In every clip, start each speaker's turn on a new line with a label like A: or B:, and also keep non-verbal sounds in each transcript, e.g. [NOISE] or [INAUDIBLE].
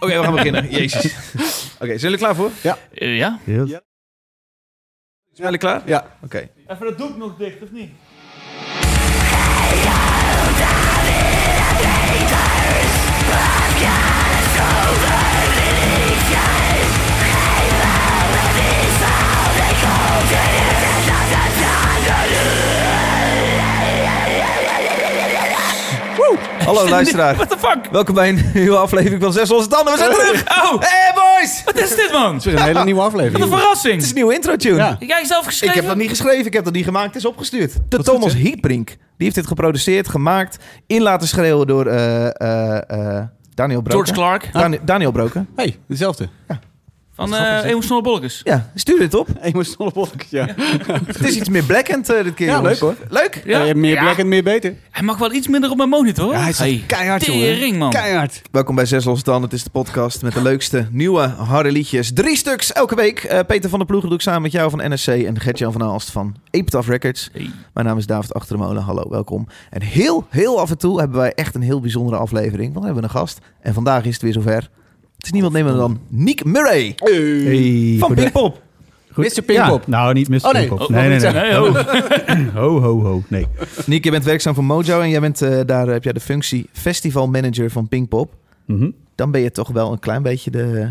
A: Oké, we gaan [LAUGHS] beginnen. Jezus. Oké, zijn jullie klaar voor?
B: Eh, ja?
C: Yes.
D: Ja.
A: Zijn jullie klaar?
D: Ja.
A: Oké.
B: Even dat doek nog dicht, of niet?
A: Hallo luisteraar. [LAUGHS]
B: What the fuck?
A: Welkom bij een nieuwe aflevering van Zes Losse Tanden. We zijn terug!
B: Oh,
A: Hey boys!
B: wat is dit, man?
D: Het is weer een hele nieuwe
B: Wat een
D: aflevering.
B: verrassing.
A: Het is een nieuwe intro tune.
D: Ja.
B: Heb jij zelf
A: Ik
B: geschreven?
A: heb dat niet geschreven, ik heb dat niet gemaakt. Het is opgestuurd. De
D: goed,
A: Thomas
D: hè?
A: Hietbrink. Die heeft dit geproduceerd, gemaakt, in laten schreeuwen door eh, eh, eh, Daniel Broken.
B: George Clark
A: Dani- Daniel Broken.
D: hey, dezelfde.
B: van eh Emotionele Bolletjes.
A: Ja, stuur dit op.
D: Emotionele bolk, ja.
A: Het is iets meer blackend eh, dit keer.
D: Ja,
A: jongens.
D: leuk,
A: Leuk?
B: Ja?
D: Eh, meer
B: Ja.
D: black en meer beter.
B: Hij mag wel iets minder op mijn monitor.
D: Ja, hij is
B: hey.
D: keihard,
B: Tering, man.
D: Keihard.
A: Welkom bij Zes Losse Tanden. Het is de podcast met de leukste nieuwe harde liedjes. Drie stuks elke week. Eh, Peter van der Ploegen doe ik samen met jou van NSC en Gert-Jan van Aalst van Epitaph Records.
B: Hey.
A: Mijn naam is David Achtermolen. Hallo, welkom. En heel, heel af en toe hebben wij echt een heel bijzondere aflevering. Want we hebben een gast. En vandaag is het weer zover. Het is niemand minder dan Nick Murray
C: Hey.
A: van Pinkpop.
D: Mr. Pinkpop.
C: Nou, niet Mr.
D: Oh, nee.
C: Pinkpop.
D: Oh,
C: nee, nee,
D: wat
C: nee.
B: Nee, ho.
C: Ho, ho, ho. Nee.
A: Nick, je bent werkzaam voor Mojo en jij bent, eh, daar heb jij de functie festivalmanager van Pinkpop.
C: Mhm.
A: Dan ben je toch wel een klein beetje de eh,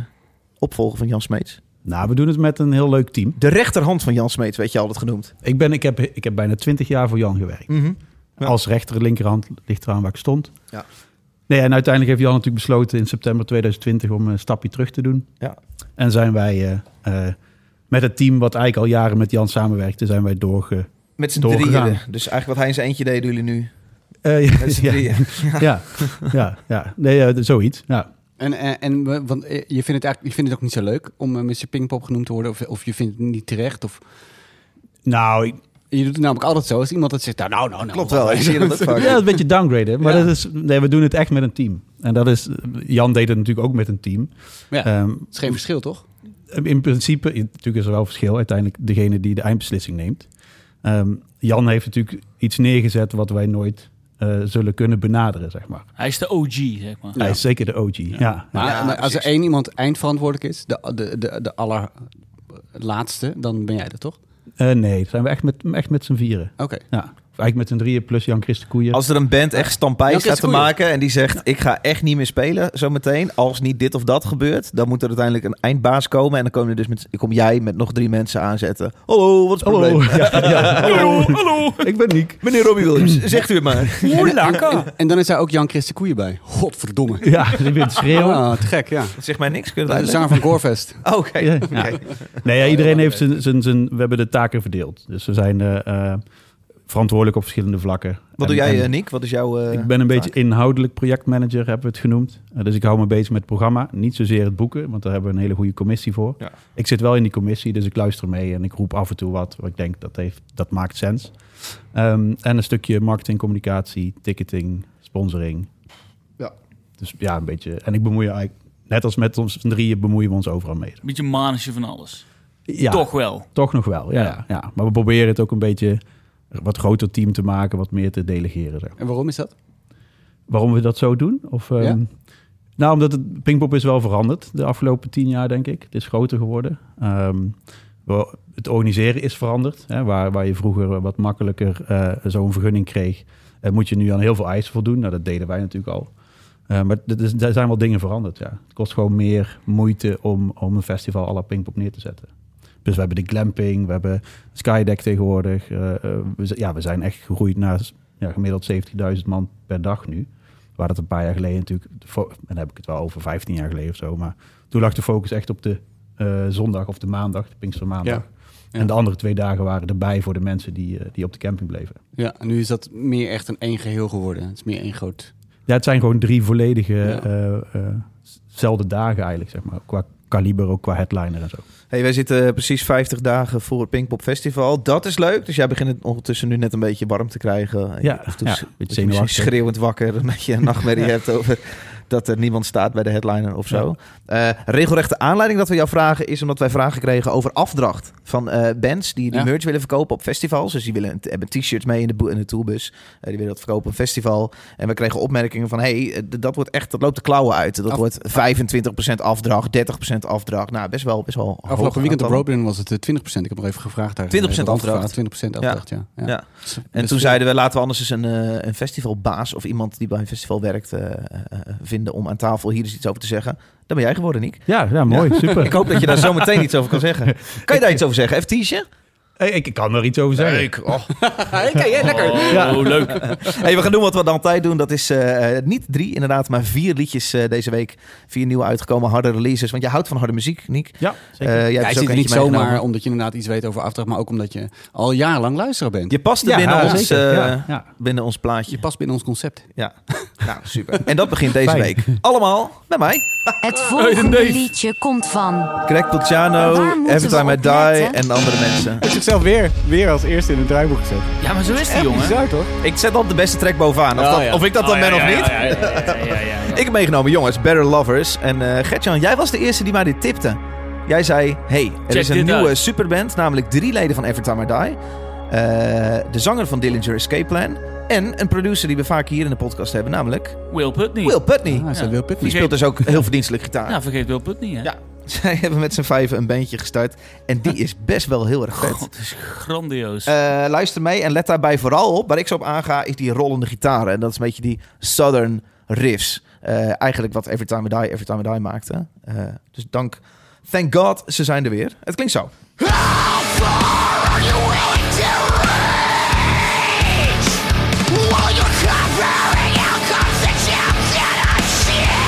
A: opvolger van Jan Smeets.
C: Nou, we doen het met een heel leuk team.
A: De rechterhand van Jan Smeets, weet je altijd genoemd.
C: Ik, ben, ik, heb, ik heb bijna twintig jaar voor Jan gewerkt.
A: Mhm. Ja.
C: Als rechter, linkerhand, ligt eraan waar ik stond.
A: Ja.
C: Nee, en uiteindelijk heeft Jan natuurlijk besloten in september 2020 om een stapje terug te doen.
A: Ja.
C: En zijn wij eh, eh, met het team wat eigenlijk al jaren met Jan samenwerkte, zijn wij doorge...
A: Met z'n
C: Doorgegaan.
A: drieën. Dus eigenlijk wat hij in zijn eentje deed, doen jullie nu.
C: Eh,
A: Met z'n [LAUGHS]
C: [LAUGHS] ja,
A: drieën.
C: ja, ja, ja. Nee, eh, zoiets. Ja.
D: En, en, en we- want eh, je vindt, het eigenlijk, je vindt het ook niet zo leuk om eh, Mr. Pinkpop genoemd te worden. Of, of je vindt het niet terecht. Of,
C: Nou, ik-
D: je doet het namelijk altijd zo. Als iemand dat zegt, nou, nou, nou. nou
A: Klopt wel, ik [LAUGHS] zie dat ook vaak.
C: Ja, dat is een beetje downgraden. Maar
D: Ja.
C: dat is, nee, we doen het echt met een team. En dat is, Jan deed het natuurlijk ook met een team.
D: Ja.
C: Ehm,
D: Het is geen verschil, toch?
C: eh, in principe, natuurlijk is er wel verschil. Uiteindelijk degene die de eindbeslissing neemt. Ehm, Jan heeft natuurlijk iets neergezet wat wij nooit eh, zullen kunnen benaderen, zeg maar.
B: Hij is de OG, zeg maar.
C: Hij is zeker de OG. Ja.
D: Maar, eh,
A: Ja,
D: maar als er
A: precies.
D: één iemand eindverantwoordelijk is, de, de, de, de allerlaatste, dan ben jij dat, toch?
C: Eh, nee, daar zijn we echt met, echt met z'n vieren.
D: Oké.
C: Ja. Of Eigenlijk met z'n drieën plus Jan Christen Koeien.
A: Als er een band echt stampij
D: Welke
A: staat
D: is
A: te
D: het goeie?
A: maken en die zegt... ik ga echt niet meer spelen zometeen. Als niet dit of dat gebeurt, dan moet er uiteindelijk een eindbaas komen. En dan kom, je dus met, kom jij met nog drie mensen aanzetten. Hallo, wat is het probleem?
C: Hallo. [LAUGHS] Ja, ja.
B: Hallo, hallo.
C: Ik ben Niek.
A: Meneer Robbie [CLEARS THROAT] Williams, zegt u het maar.
B: Hoe lekker.
D: En, en dan is daar ook Jan Christen Koeien bij. Godverdomme.
C: Ja, ze bent schreeuwen.
D: Ah, te gek, ja.
A: Dat zegt mij niks, kun je het
D: De
A: uitleggen?
D: zanger van Gorefest.
A: Oh, Oké.
C: Ja.
A: Oké.
C: Nee, ja, iedereen heeft zijn, zijn, zijn... We hebben de taken verdeeld. Dus we zijn eh, eh, verantwoordelijk op verschillende vlakken.
A: Wat
C: En-
A: doe jij,
C: en
A: eh, Nick? Wat is jouw... eh,
C: ik ben een beetje
A: taak?
C: inhoudelijk projectmanager, hebben we het genoemd. Eh, dus ik hou me bezig met het programma. Niet zozeer het boeken, want daar hebben we een hele goede commissie voor.
A: Ja.
C: Ik zit wel in die commissie, dus ik luister mee en ik roep af en toe wat. Wat ik denk, dat, heeft, dat maakt sens. Ehm, en een stukje marketing, communicatie, ticketing, sponsoring.
A: Ja.
C: Dus ja, een beetje. En ik bemoei eigenlijk... Net als met ons drieën bemoeien we ons overal mee.
B: Beetje manetje van alles.
C: Ja.
B: Toch wel.
C: Toch nog wel, ja, ja. ja. Maar we proberen het ook een beetje een wat groter team te maken, wat meer te delegeren. Zeg. maar.
D: En waarom is dat?
C: Waarom we dat zo doen? Of, ehm,
D: Ja?
C: Nou, omdat het Pinkpop is wel veranderd de afgelopen tien jaar, denk ik. Het is groter geworden. Ehm, we- het organiseren is veranderd. Hè, waar, waar je vroeger wat makkelijker eh, zo'n vergunning kreeg, eh, moet je nu aan heel veel eisen voldoen. Nou, dat deden wij natuurlijk al. Eh, maar dat is, daar zijn wel dingen veranderd. Ja. Het kost gewoon meer moeite om, om een festival à la Pinkpop neer te zetten. Dus we hebben de glamping, we hebben Skydeck tegenwoordig. Eh, eh, we, z- ja, we zijn echt gegroeid naar ja, gemiddeld 70.000 man per dag nu. Waar dat een paar jaar geleden natuurlijk, de fo- en dan heb ik het wel over 15 jaar geleden of zo. Maar toen lag de focus echt op de eh, zondag of de maandag, de Pinkstermaandag.
D: Ja. Ja.
C: En de andere twee dagen waren erbij voor de mensen die, eh, die op de camping bleven.
D: Ja, en nu is dat meer echt een één geheel geworden. Het is meer één groot...
C: Ja, het zijn gewoon drie volledige,
D: Ja.
C: eh, eh, zelfde dagen eigenlijk, zeg maar. Qua kaliber, ook qua headliner en zo.
A: Hey, wij zitten precies 50 dagen voor het Pinkpop Festival. Dat is leuk. Dus jij begint het ondertussen nu net een beetje warm te krijgen.
C: Ja,
A: Of toen
C: ja,
A: is- dat je
C: een beetje
A: misschien
C: zenuwachtig.
A: schreeuwend wakker, een beetje een nachtmerrie
D: [LAUGHS]
A: hebt over dat er niemand staat bij de headliner of zo. Eh, regelrechte aanleiding dat we jou vragen is omdat wij vragen kregen over afdracht van eh, bands die, die
D: Ja.
A: merch willen verkopen op festivals. Dus die willen een, hebben t-shirts mee in de, bo- in de tourbus. Eh, die willen dat verkopen op een festival. En we kregen opmerkingen van, hé, hey, eh, d- dat, wordt echt, dat loopt de klauwen uit. Dat wordt met 25% afdracht, 30% afdracht. Nou, best wel, best wel. hoog
D: Afgelopen weekend op
A: aantal.
D: Roadrun was het eh, 20%. Ik heb nog even gevraagd daar.
A: 20%
D: eh,
A: afdracht.
D: rondgevraagd. 20% afdracht, ja. ja.
A: Ja.
D: Dus-
A: En
D: dus
A: toen
D: veel.
A: zeiden we, laten we anders eens een, eh, een festivalbaas of iemand die bij een festival werkt eh, eh, eh, vinden om aan tafel hier eens iets over te zeggen. Dat ben jij geworden, Nick.
C: Ja, ja mooi. Super. [LAUGHS]
A: Ik hoop dat je daar zometeen iets over kan zeggen. Kan je daar iets over zeggen? Even teasen?
C: Hey, ik kan er iets over zeggen.
A: Oh.
B: Oh,
C: Ja.
B: leuk.
A: Hey, we gaan doen wat we dan altijd doen. Dat is eh, eh, niet drie inderdaad, maar vier liedjes eh, deze week. Vier nieuwe uitgekomen harde releases. Want je houdt van harde muziek, Nick.
C: Ja,
A: Eh,
C: zeker.
A: jij hebt dus
D: Ja,
A: ook
D: ik zit er
A: eentje
D: niet zomaar
A: meegenomen.
D: omdat je inderdaad iets weet over afdracht, maar ook omdat je al jarenlang luisteraar bent.
A: Je past er
C: Ja,
A: binnen, ons,
C: zeker.
A: eh,
C: Ja, ja.
A: binnen ons plaatje.
D: Je past binnen ons concept.
C: [LAUGHS]
A: Nou, super. En dat begint deze
C: Fijn.
A: week. Allemaal bij mij.
E: Het
A: Oh.
E: volgende liedje komt van.
A: Craig
E: Waar
A: Pulciano,
E: moeten
A: Every
E: we
A: Time I
E: op
A: Die
E: letten?
A: en andere mensen.
D: Heeft zichzelf weer, weer als eerste in het draaiboek gezet.
B: Ja, maar zo is die jongen.
D: Bizar, toch?
A: Ik zet op de beste track bovenaan. Of,
D: Ja,
A: dat-
D: ja.
A: of ik dat dan
B: Oh,
A: ben
B: ja,
A: of
B: ja,
A: niet.
B: ja, ja, ja, ja, ja, ja.
A: [LAUGHS] Ik heb meegenomen, jongens, Better Lovers. En eh Gertjan, jij was de eerste die mij dit tipte. Jij zei, hey, er
B: Check
A: is een
B: dit
A: nieuwe
B: uit.
A: superband, namelijk drie leden van Every Time I Die. Eh, de zanger van Dillinger Escape Plan. En een producer die we vaak hier in de podcast hebben, namelijk
B: Will Putney.
A: Will Putney.
D: Ah, is dat
B: Ja.
D: Will Putney?
A: Die speelt dus ook heel verdienstelijk gitaar.
B: Ja, vergeet Will Putney, hè?
A: Ja. [LAUGHS] Zij hebben met z'n vijven een bandje gestart. En die is best wel heel erg vet.
B: God, het is grandioos.
A: Eh, luister mee en let daarbij vooral op. Waar ik zo op aanga is die rollende gitaren. En dat is een beetje die southern riffs. Eh, eigenlijk wat Every Time I Die, Every Time I Die maakte. Eh, dus dank, thank God, ze zijn er weer. Het klinkt zo.
F: While you're covering out comes the chance that I save.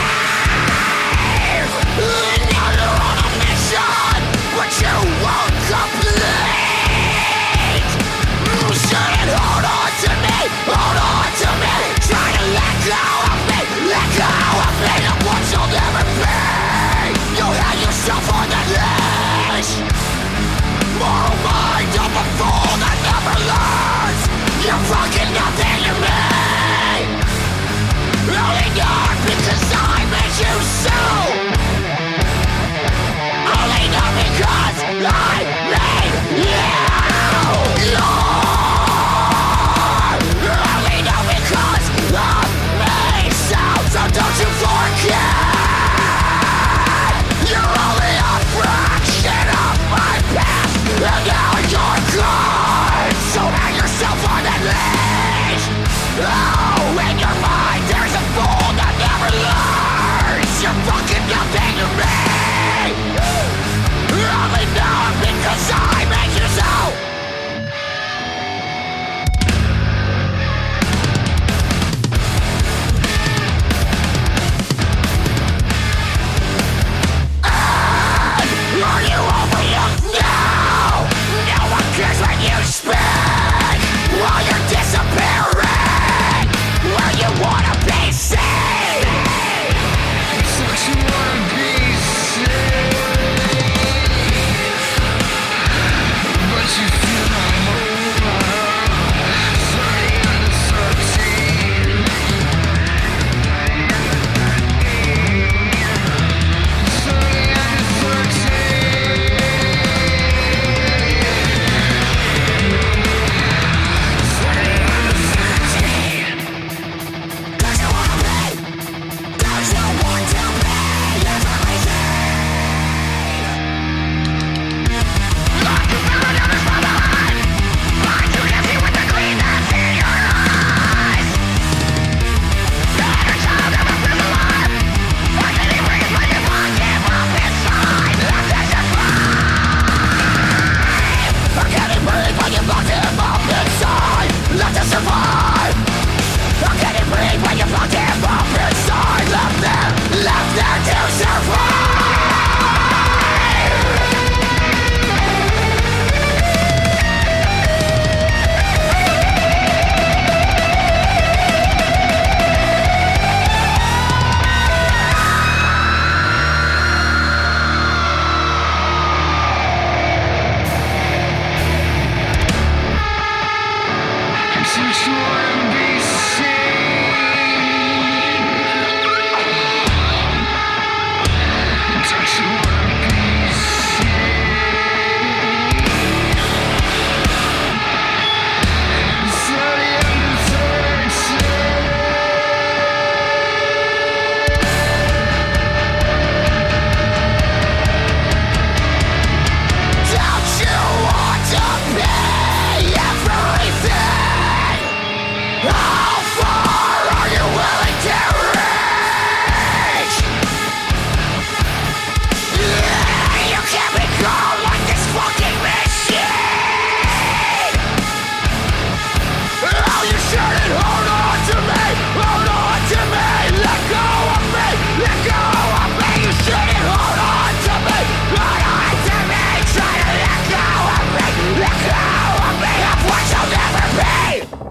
F: Now you're on a mission, but you won't complete. You shouldn't hold on to me, hold on to me. Try to let go of me, let go of me. I'm what you'll never be. You had yourself on that leash. Moral mind. Oh,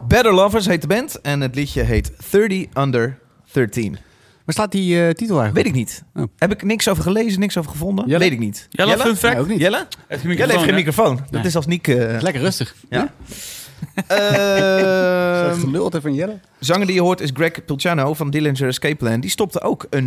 A: Better Lovers heet de band en het liedje heet 30 Under 13.
D: Waar staat die eh, titel eigenlijk?
A: Weet ik niet.
D: Oh.
A: Heb ik niks over gelezen, niks over gevonden?
D: Jelle?
A: Weet ik niet.
B: Jelle, fun fact.
D: Nee, ook niet.
A: Jelle?
B: Heeft geen
A: Jelle heeft geen
B: hè?
A: microfoon. Dat
D: Nee.
A: is als Niek. eh, [LAUGHS] Ehm,
D: Lekker rustig.
A: ja.
D: Zo
A: Ehm,
D: geluld even van Jelle.
A: zanger die je hoort is Greg Pulciano van Dillinger Escape Plan. Die stopte ook een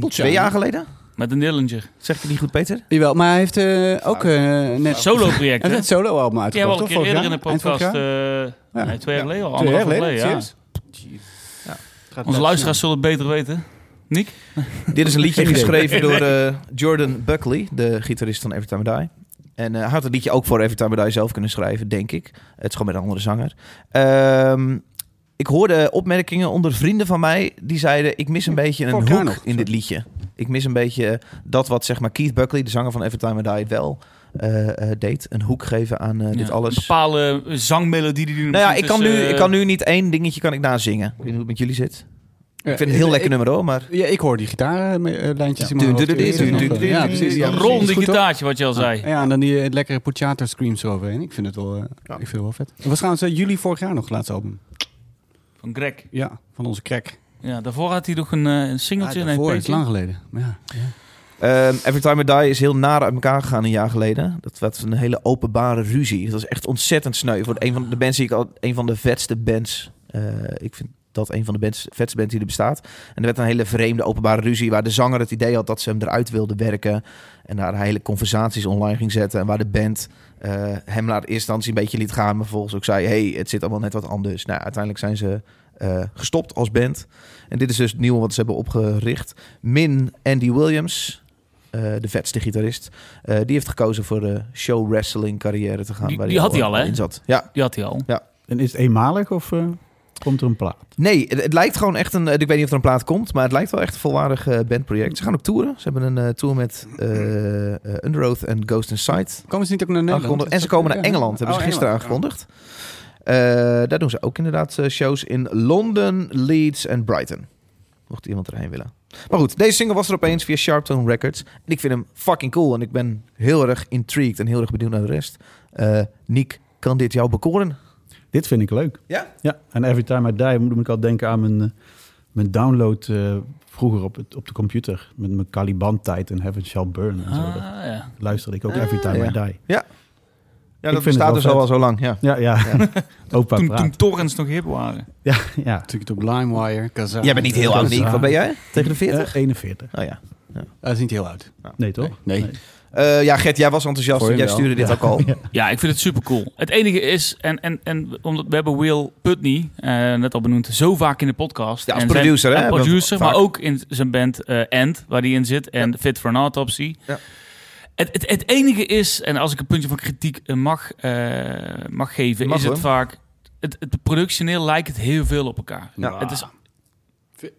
D: Pulciano?
A: twee jaar geleden.
B: Met een Dillinger.
A: Zeg ik het niet goed, Peter?
D: Jawel, maar hij heeft eh, ook eh, net...
B: Solo project,
D: Hij heeft
B: hè?
D: net solo album
B: Die hebben we al
D: uitgebracht,
B: een
D: toch?
B: keer
D: Vorig
B: eerder
D: jaar?
B: in de
D: Eind vorig
B: podcast...
D: jaar?
B: eh,
D: Ja.
B: nee, twee jaar geleden al.
D: Twee jaar
B: Anderhalf jaar
D: geleden,
B: geleden, ja.
D: serieus?
A: Ja.
D: Gaat
B: Onze
D: best
B: luisteraars zullen het beter weten. Nick?
A: [LAUGHS] Dit is een liedje
C: Geen idee.
A: geschreven door eh, Jordan Buckley, de gitarist van Every Time I Die. En eh, hij had het liedje ook voor Every Time I Die zelf kunnen schrijven, denk ik. Het is gewoon met een andere zanger. Ehm, ik hoorde opmerkingen onder vrienden van mij die zeiden... ik mis een beetje een
D: Volcano.
A: hoek in dit liedje. Ik mis een beetje dat wat zeg maar Keith Buckley, de zanger van Every Time I Die, wel eh, eh, deed. Een hoek geven aan eh, dit
B: Ja.
A: alles.
B: Bepaalde eh, zangmelodie die nu...
A: Nou ja,
B: nog
A: ik kan,
B: niet
A: nu,
B: is, eh,
A: ik kan nu niet één dingetje kan ik nazingen. Ik weet niet hoe het met jullie zit.
D: wel.
A: Ik vind het een heel
D: Ja,
A: lekker nummer hoor, maar...
D: ik- Ja, ik hoor die gitaarlijntjes in mijn
A: Dun, dun, dun,
D: hoofd.
A: dun, dun, dun,
D: Ja, precies.
A: dun,
D: Ja,
B: Een
A: dun,
D: precies.
B: ronde
D: Is goed, toch?
B: gitaartje, wat je al zei.
D: Ja, en dan die eh, lekkere Pucciato screams eroverheen. Ik vind het wel, eh, ik vind het wel vet. Het was trouwens eh, juli vorig jaar nog, het laatste album.
B: Van Greg.
D: Ja, van onze crack.
B: Ja, daarvoor had hij nog een, eh, een
A: Ah,
D: Ja,
B: singeltje. en
D: daarvoor,
B: een
D: het is
B: EP'tje.
D: lang geleden. Maar ja.
A: Ehm Every Time I Die is heel naar uit elkaar gegaan een jaar geleden. Dat was een hele openbare ruzie. Dat was echt ontzettend sneu. Voor een van de bands die ik al, een van de vetste bands. eh, ik vind dat een van de bands, vetste bands die er bestaat. En er werd een hele vreemde openbare ruzie waar de zanger het idee had dat ze hem eruit wilden werken. En daar hele conversaties online ging zetten. En waar de band eh, hem naar de eerste instantie een beetje liet gaan. Maar vervolgens ook zei, hey, het zit allemaal net wat anders. Nou, uiteindelijk zijn ze eh, gestopt als band. En dit is dus het nieuwe wat ze hebben opgericht. Min Andy Williams, eh, de vetste gitarist. eh, die heeft gekozen voor de show wrestling carrière te gaan.
B: Die-
A: waar
B: die had hij al, hè?
A: In zat. Ja.
B: Die had hij al.
C: En is het eenmalig of eh, komt er een plaat?
A: Nee, het, het lijkt gewoon echt een... eh, Ik weet niet of er een plaat komt, maar het lijkt wel echt een volwaardig eh, bandproject. Ze gaan ook toeren. Ze hebben een eh, tour met eh eh, Under Oath en Ghost Inside.
D: Komen ze niet ook naar Nederland?
A: aangekondigd. En ze komen naar
D: Ja.
A: Engeland, hebben
D: Oh,
A: ze gisteren
D: Engeland.
A: aangekondigd. Eh, daar doen ze ook inderdaad eh, shows in Londen, Leeds en Brighton. Mocht iemand erheen willen. Maar goed, deze single was er opeens via Sharptone Records. En ik vind hem fucking cool. En ik ben heel erg intrigued en heel erg benieuwd naar de rest. Eh Niek, kan dit jou bekoren?
C: Dit vind ik leuk.
A: Ja?
C: Ja, en Every Time I Die moet moet ik al denken aan mijn, eh, mijn download eh, vroeger op, het, op de computer. Met mijn Caliban-tijd en Heaven Shall Burn. En zo.
B: Ah,
C: Dat
B: ja.
C: luisterde ik ook Every Time I
A: ja.
C: Die.
A: Ja, dat
C: vind het
A: bestaat
C: wel
A: dus
C: vet.
A: al, al zo lang. Ja.
C: Ja, ja. [LAUGHS] Opa
B: Toen, toen
C: praat.
B: torrents nog hip waren.
C: Ja, ja.
D: Natuurlijk op LimeWire, Kazaa.
A: Jij bent niet heel oud, Niek. Wat ben jij? Tegen de 40?
C: Eh, 41.
A: Oh ja.
D: Dat is niet heel oud.
C: Nee, toch?
D: Nee.
A: Eh, ja, Gert, jij was enthousiast.
D: Voor
A: want
D: je
A: Jij
D: wel.
A: stuurde dit ook
D: [LAUGHS]
A: al.
B: Ja, ik vind het super cool. Het enige is, en, en, en omdat we hebben Will Putney, eh, net al benoemd, zo vaak in de podcast.
A: Ja, als
B: En
A: producer, hè,
B: zijn, en
A: hebben we
B: producer,
A: vaak.
B: maar ook in zijn band eh End, waar hij in zit, en Fit for an Autopsy.
A: Ja.
B: Het, het, het enige is, en als ik een puntje van kritiek eh, mag, eh, mag geven,
A: Mag,
B: is het
A: hoor.
B: vaak, het, het productioneel lijkt het heel veel op elkaar.
A: Ja.
B: Het is...
D: Vi-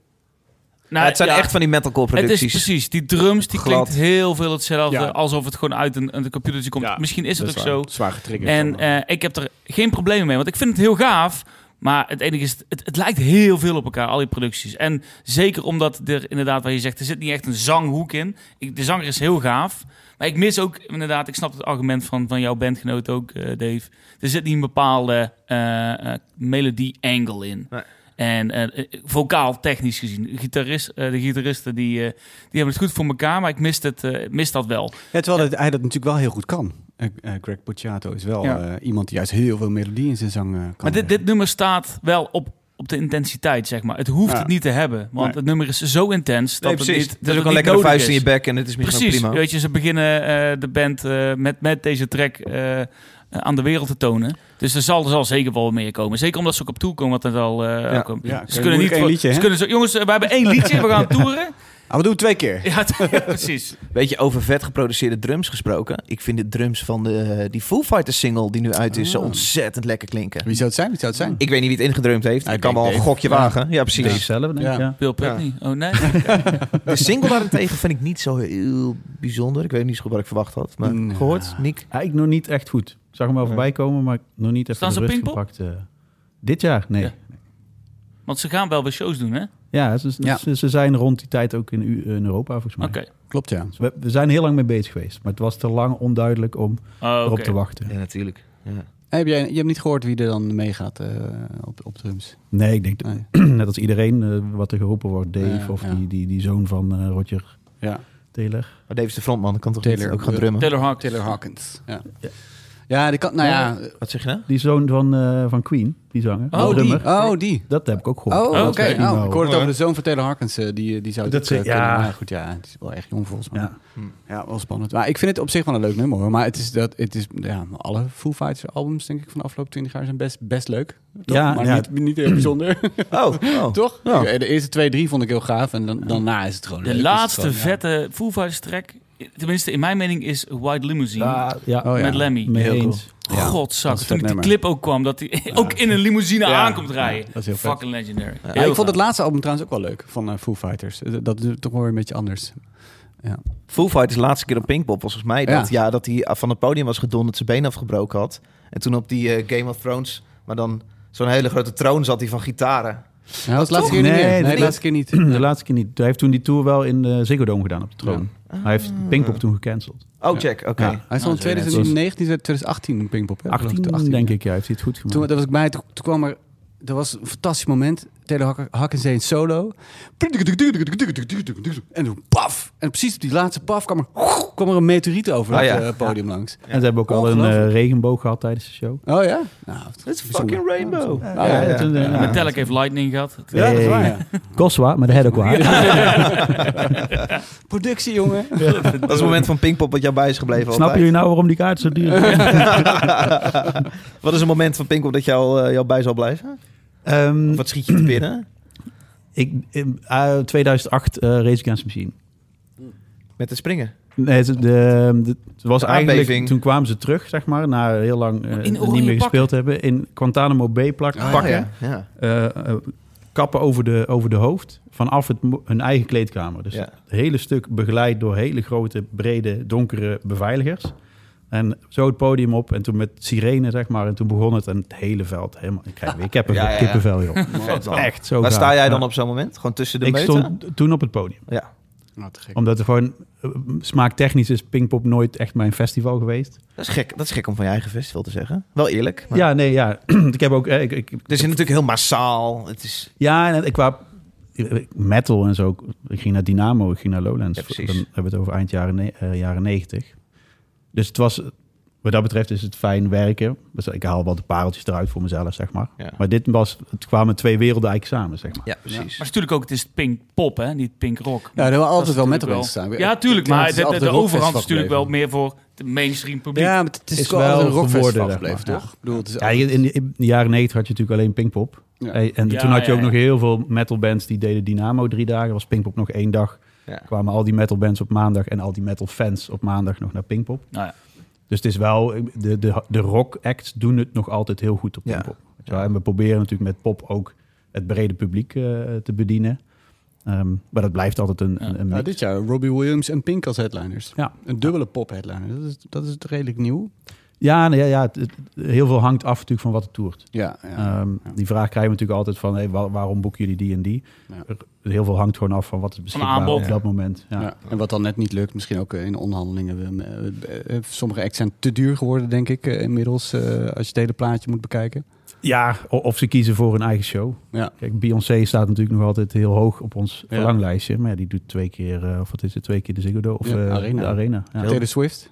B: Nou,
A: het zijn
B: ja.
A: echt van die metalcore
B: Het is
A: producties.
B: precies, die drums die
A: Glad.
B: klinkt heel veel hetzelfde,
D: Ja.
B: alsof het gewoon uit een, een computertje komt.
D: Ja,
B: Misschien is het ook
D: Dat
B: zo.
D: waar. Zwaar getriggerd.
B: En
D: allemaal.
B: eh, ik heb er geen problemen mee, want ik vind het heel gaaf. Maar het enige is, het, het lijkt heel veel op elkaar, al die producties. En zeker omdat er inderdaad, waar je zegt, er zit niet echt een zanghoek in. Ik, de zanger is heel gaaf. Maar ik mis ook, inderdaad, ik snap het argument van, van jouw bandgenoot ook, eh, Dave. Er zit niet een bepaalde eh, eh, melodie-angle in.
A: Nee.
B: En eh, eh, vocaal, technisch gezien. De Gitarist, eh, de gitaristen die, eh, die hebben het goed voor elkaar, maar ik mis, het, eh, mis dat wel.
D: Ja, terwijl dat- hij dat natuurlijk wel heel goed kan. Eh, eh, Greg Pucciato is wel
B: Ja.
D: eh, iemand die juist heel veel melodie in zijn zang eh, kan.
B: Maar dit,
D: leggen.
B: dit nummer staat wel op, op de intensiteit, zeg maar. Het hoeft
D: Ja.
B: het niet te hebben, want
D: Nee.
B: het nummer is zo intens. Dat
A: Nee, precies.
B: Het, niet,
A: Het is
B: dat
A: ook een
B: niet
A: lekkere
B: nodig
A: vuist in
B: is.
A: je bek en het is misschien ook
B: Precies.
A: prima.
B: Weet je, ze beginnen eh, de band eh, met, met deze track eh, eh, aan de wereld te tonen. Dus er zal, er zal zeker wel meer komen. Zeker omdat ze ook op toe komen, wat het al. eh, ook komt.
D: Ja, oké,
B: ze kunnen
D: moeilijk
B: niet.
D: één
B: voor-
D: liedje,
B: ze
D: hè?
B: kunnen zo, jongens, eh, we hebben één liedje, we gaan toeren.
D: Ah, we doen het twee keer.
B: Ja, t- [LAUGHS] ja, precies.
A: Weet je, over vet geproduceerde drums gesproken. Ik vind de drums van de, die Foo Fighters single die nu uit is zo
D: Ah.
A: ontzettend lekker klinken.
D: Wie zou het zijn? Wie zou het zijn?
A: Ik weet niet wie het ingedrumd heeft.
D: Ah,
A: Ik
D: ik
A: kan
D: denk
A: wel een
D: Dave.
A: gokje
D: Ja.
A: wagen. Ja,
C: Dave
A: precies.
C: zelf, denk ik.
D: Ja.
C: Ja.
B: Bill Putney. Oh nee.
A: De single daarentegen vind ik niet zo heel bijzonder. Ik weet niet zo goed wat ik verwacht had. Maar
B: Mm,
D: Ja.
A: gehoord, Nick?
C: Eigenlijk nog niet echt goed. Ik zag hem wel voorbij komen, maar nog niet even
B: Staan
C: de
B: ze op
C: rust
B: Pinkpop?
C: gepakt. eh. dit jaar? Nee.
B: Ja.
C: Ja,
B: Want ze gaan wel weer shows doen, hè? Oké.
C: ze, ze-
D: Ja.
C: Ze, ze zijn rond die tijd ook in, U- in Europa, volgens mij.
D: Klopt, ja.
C: Dus we, we zijn heel lang mee bezig geweest, maar het was te lang onduidelijk om
B: Oh,
C: erop
B: oké.
C: te wachten.
A: natuurlijk. Ja.
D: Heb jij, je hebt niet gehoord wie er dan meegaat eh, op, op drums?
C: Nee, ik denk
D: Nee.
C: [CLEARS THROAT] net als iedereen eh, wat er geroepen wordt. Dave
D: Ja,
C: of
D: ja.
C: Die, die, die zoon van eh, Roger
D: Ja.
C: Taylor.
A: Maar Dave is Oh, de frontman, kan toch
D: Taylor.
A: niet ook gaan drummen?
B: Taylor Hawkins.
D: Taylor Hawkins. Ja,
C: Ja.
D: ja die kan, nou ja.
A: Wat zeg je nou?
C: Die zoon van, eh, van Queen, die zanger.
B: Oh,
C: de
B: die.
C: drummer.
D: Oh, die.
C: Dat heb ik ook gehoord. Nou,
D: Oh, oké.
B: oké.
D: Oh, ik hoorde het over
A: Ja.
D: de zoon van Taylor Hawkins. eh, die, die zou
C: Dat
D: dit,
C: ze-
D: eh, kunnen.
C: ja.
D: Maar goed, ja, het is wel echt jong volgens mij. Hm.
C: Ja.
D: Ja, wel spannend. Maar ik vind het op zich wel een leuk nummer hoor. Maar het is dat, het is, ja, alle Foo Fighters albums, denk ik, van de afgelopen 20 jaar zijn best, best leuk. Toch?
C: Ja,
D: maar
C: ja.
D: Niet, niet heel
C: [CLEARS THROAT]
D: bijzonder. [LAUGHS]
A: Oh, oh.
D: Toch?
A: Ja.
D: Ja, De eerste twee, drie vond ik heel gaaf. En dan, daarna is het gewoon
B: De
D: leuk. Is het
B: laatste
D: gewoon, ja.
B: vette Foo Fighters track, tenminste in mijn mening, is White Limousine.
C: Ja, ja.
D: Oh, ja.
B: Met Lemmy.
C: Mee
D: Heel
C: eens.
D: Ja,
B: Godzak,
D: dat
B: toen
D: is vet
B: ik die
D: nummer.
B: clip ook kwam, dat hij ook in een limousine
D: Ja.
B: aankomt rijden.
D: Ja, dat is heel vet.
B: Fucking legendary.
A: Ja,
D: Ja,
B: Heel
D: ik vond het
B: gaaf.
D: laatste album trouwens ook wel leuk van eh, Foo Fighters. Eh, Dat is toch wel weer een beetje anders.
A: Foo Fighters laatste keer op Pinkpop was volgens mij dat,
D: Ja.
A: ja. dat hij van het podium was gedonderd, zijn been afgebroken had. En toen op die eh, Game of Thrones, maar dan zo'n hele grote troon zat hij van gitaren.
D: Ja, dat was de laatste keer
C: Nee,
D: niet meer. Nee,
C: nee,
D: de
C: nee.
D: laatste keer niet.
C: [CLEARS THROAT] De laatste keer niet. Hij heeft toen die tour wel in de Ziggo Dome gedaan op de troon. Hij heeft Pinkpop toen gecanceld.
A: Oh,
D: Ah. Ja.
A: check, oké.
C: Ja.
D: Hij stond in
B: weer net
D: 2019, 2018 in Pinkpop. hè?
C: 18, denk ik, ja, heeft hij het goed gemaakt.
D: Toen, dat was ik bij, toen, toen kwam er... Dat was een fantastisch moment. Taylor Hack- Hawkins deed een solo. En toen paf! En precies op die laatste paf kwam er, kwam er een meteoriet over
A: Ah,
D: het
A: ja.
D: eh, podium langs.
C: en ze hebben ook al een eh, regenboog gehad tijdens de show.
D: Oh ja? Nou, het
A: It's fucking rainbow.
C: Ja, ja, ja. Toen, eh, ja.
B: Metallic heeft Lightning gehad.
C: Ja, dat is waar, ja. Koswa, maar de head ook waar.
D: Productie,
C: [LAUGHS]
D: jongen.
A: Dat is het moment van Pinkpop wat jou bij is gebleven
C: Snappen
A: altijd.
C: jullie nou waarom die kaart zo duur is?
A: Wat is een moment van Pinkpop dat jou, eh, jou bij zal blijven?
C: Ehm,
A: Of wat schiet je te binnen?
C: ik, in, eh, 2008 eh, Race Against the Machine.
A: Met de springen.
C: Nee, de, de- de- het was
A: De
C: eigenlijk,
A: aardbeving.
C: toen kwamen ze terug, zeg maar, na heel lang eh,
B: In
C: niet
B: oranje
C: meer
B: pakken.
C: gespeeld te hebben. In Guantanamo Bay plak, pakken,
A: Oh, ja. ja.
C: eh, eh, kappen over de, over de hoofd, vanaf het, mo- hun eigen kleedkamer. Dus
A: Ja.
C: het hele stuk begeleid door hele grote, brede, donkere beveiligers. En zo het podium op en toen met sirene, zeg maar. En toen begon het en het hele veld helemaal... Ik krijg weer kippenvel,
A: Ja, ja, ja. [LAUGHS]
C: kippenvel joh.
A: Vet man.
C: Echt zo
A: Waar
C: gaaf.
A: sta jij dan
C: Ja.
A: op zo'n moment? Gewoon tussen de
C: Ik
A: meuten?
C: stond toen op het podium.
A: Ja.
D: Nou, te gek.
C: Omdat er gewoon eh, smaaktechnisch is Pinkpop nooit echt mijn festival geweest.
A: Dat is gek. Dat is gek om van je eigen festival te zeggen. Wel eerlijk. maar-
C: Ja, nee, ja. [CLEARS THROAT] ik heb ook. eh, Ik, ik,
A: Het is natuurlijk heel massaal. Het is...
C: ja, en ik qua metal en zo. Ik ging naar Dynamo, ik ging naar Lowlands.
A: Ja, precies.
C: Dan hebben we het over eind jaren, ne- eh, jaren 90. Dus het was, wat dat betreft is het fijn werken. Dus ik haal wel de pareltjes eruit voor mezelf, zeg maar.
A: Ja.
C: Maar dit was, het kwamen twee werelden eigenlijk samen, zeg maar.
A: Ja, precies.
B: Maar het is natuurlijk ook, het is pink pop, hè? niet pink rock.
D: Ja, er waren altijd wel metal
B: natuurlijk
D: mensen staan.
B: Ja, tuurlijk,
D: Het
B: maar
D: is
B: de, de,
D: altijd
B: de
D: een
B: overhand is
D: rockfestival
B: natuurlijk wel
D: gebleven.
B: meer voor het mainstream publiek.
D: Ja, maar het is,
C: Is
D: wel,
C: wel
D: altijd een rockfestival
C: geworden,
D: gebleven,
C: zeg maar.
D: toch? Ik bedoel, het is
C: Ja, in, de, in de jaren 90 had je natuurlijk alleen Pinkpop.
D: Ja.
C: Hey, En
B: Ja,
C: toen had je
B: ja,
C: ook
B: ja.
C: nog heel veel metalbands die deden Dynamo drie dagen. Was Pinkpop nog één dag.
A: Ja.
C: Kwamen al die metalbands op maandag en al die metalfans op maandag nog naar Pinkpop.
B: Nou ja.
C: Dus het is wel, de, de, de rock acts doen het nog altijd heel goed op
A: Ja.
C: Pinkpop. Weet je wel. En we proberen natuurlijk met pop ook het brede publiek eh, te bedienen. Ehm, maar dat blijft altijd een,
B: Ja.
C: een, een
D: Nou,
C: mix.
D: dit jaar Robbie Williams en Pink als headliners.
C: Ja.
D: Een dubbele pop-headliner. Dat is, dat is redelijk nieuw.
C: Ja, nee, ja, ja het- het- heel veel hangt af natuurlijk van wat het toert.
D: Ja, ja.
C: Ehm,
D: Ja.
C: Die vraag krijgen we natuurlijk altijd van hey, wa- waarom boeken jullie die en die?
D: Ja.
C: Er- Heel veel hangt gewoon af van wat is beschikbaar
B: aanbod.
C: op dat moment. Ja.
D: Ja. En wat dan net niet lukt, misschien ook eh, in onderhandelingen. We- eh, eh, Sommige acts zijn te duur geworden, denk ik, eh, inmiddels. eh, als je het hele plaatje moet bekijken.
C: Ja, o- of ze kiezen voor hun eigen show.
D: Ja.
C: Kijk, Beyoncé staat natuurlijk nog altijd heel hoog op ons
D: Ja.
C: verlanglijstje. Maar ja, die doet twee keer, eh, of wat is het, twee keer de Ziggo Dome of
D: Ja,
C: eh,
D: Arena.
C: de Arena. Ja.
D: Taylor Swift.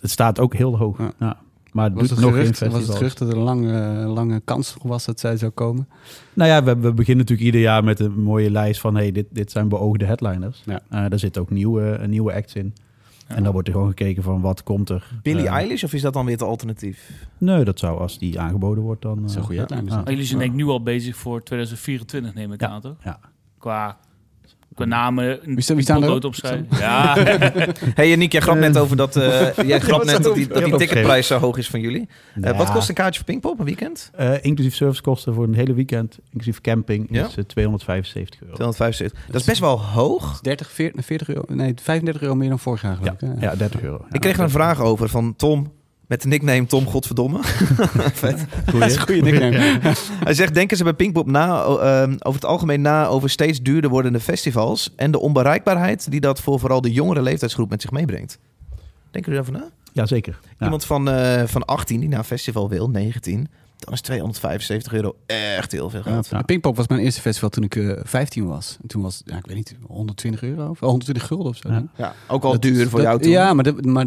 C: Het staat ook heel hoog.
D: Ja.
C: Ja. Maar het
D: Was
C: doet
D: het,
C: nog
D: gerucht,
C: geen
D: was het
C: festival.
D: gerucht dat er een lange, lange kans was dat zij zou komen?
C: Nou ja, we, we beginnen natuurlijk ieder jaar met een mooie lijst van... hey, dit, dit zijn beoogde headliners.
D: Ja.
C: Eh, daar zitten ook nieuwe, nieuwe acts in. En dan wordt er gewoon gekeken van wat komt er.
A: Billie
C: Eh,
A: Eilish of is dat dan weer het alternatief?
C: Nee, dat zou als die aangeboden wordt dan...
D: is
C: eh,
D: een goede
C: ja.
D: headliner,
C: Ja.
B: Maar jullie zijn denk ik nu al bezig voor 2024, neem ik
C: Ja.
B: aan, toch?
C: Ja.
B: Qua, qua namen, een
D: Wie staan- wie staan
B: potlood
D: erop?
B: opschrijven. Ja,
A: hey, Nick, jij grapt net over dat, eh, [LAUGHS] jij grapt net dat die, dat
C: Ik
A: die
C: heb
A: ticketprijs zo hoog is van jullie. Eh,
C: Ja.
A: Wat kost een kaartje voor Pinkpop een weekend?
C: Eh, inclusief servicekosten voor een hele weekend, inclusief camping,
A: Ja.
C: is eh, 275 euro.
A: 275. Dat is best wel hoog.
D: 30, 40, 40 euro, nee, 35 euro meer dan vorig jaar
C: Ja,
D: geloof ik. hè?
C: ja, 30 euro. Ja.
A: Ik kreeg er een vraag over van Tom met de nickname Tom [LAUGHS] Godverdomme. [LAUGHS]
C: Goeie.
D: Dat is een goede nickname.
A: Hij zegt, denken ze bij Pinkpop na, o- ehm, over het algemeen na over steeds duurder wordende festivals en de onbereikbaarheid die dat voor vooral de jongere leeftijdsgroep met zich meebrengt? Denken jullie daarover na?
C: Jazeker. Ja.
A: Iemand van, eh, van 18 die naar een festival wil, 19, dan is 275 euro echt heel veel geld.
C: Ja.
D: Pinkpop was mijn eerste festival toen ik eh, 15 was. En toen was, het, ja, ik weet niet, 120 euro of 120 gulden of zo.
C: Ja.
D: denk ik.
A: Ja, ook al
D: Dat
A: duur
D: is-
A: voor
D: dat-
A: jou toen.
D: Ja, maar, dat- maar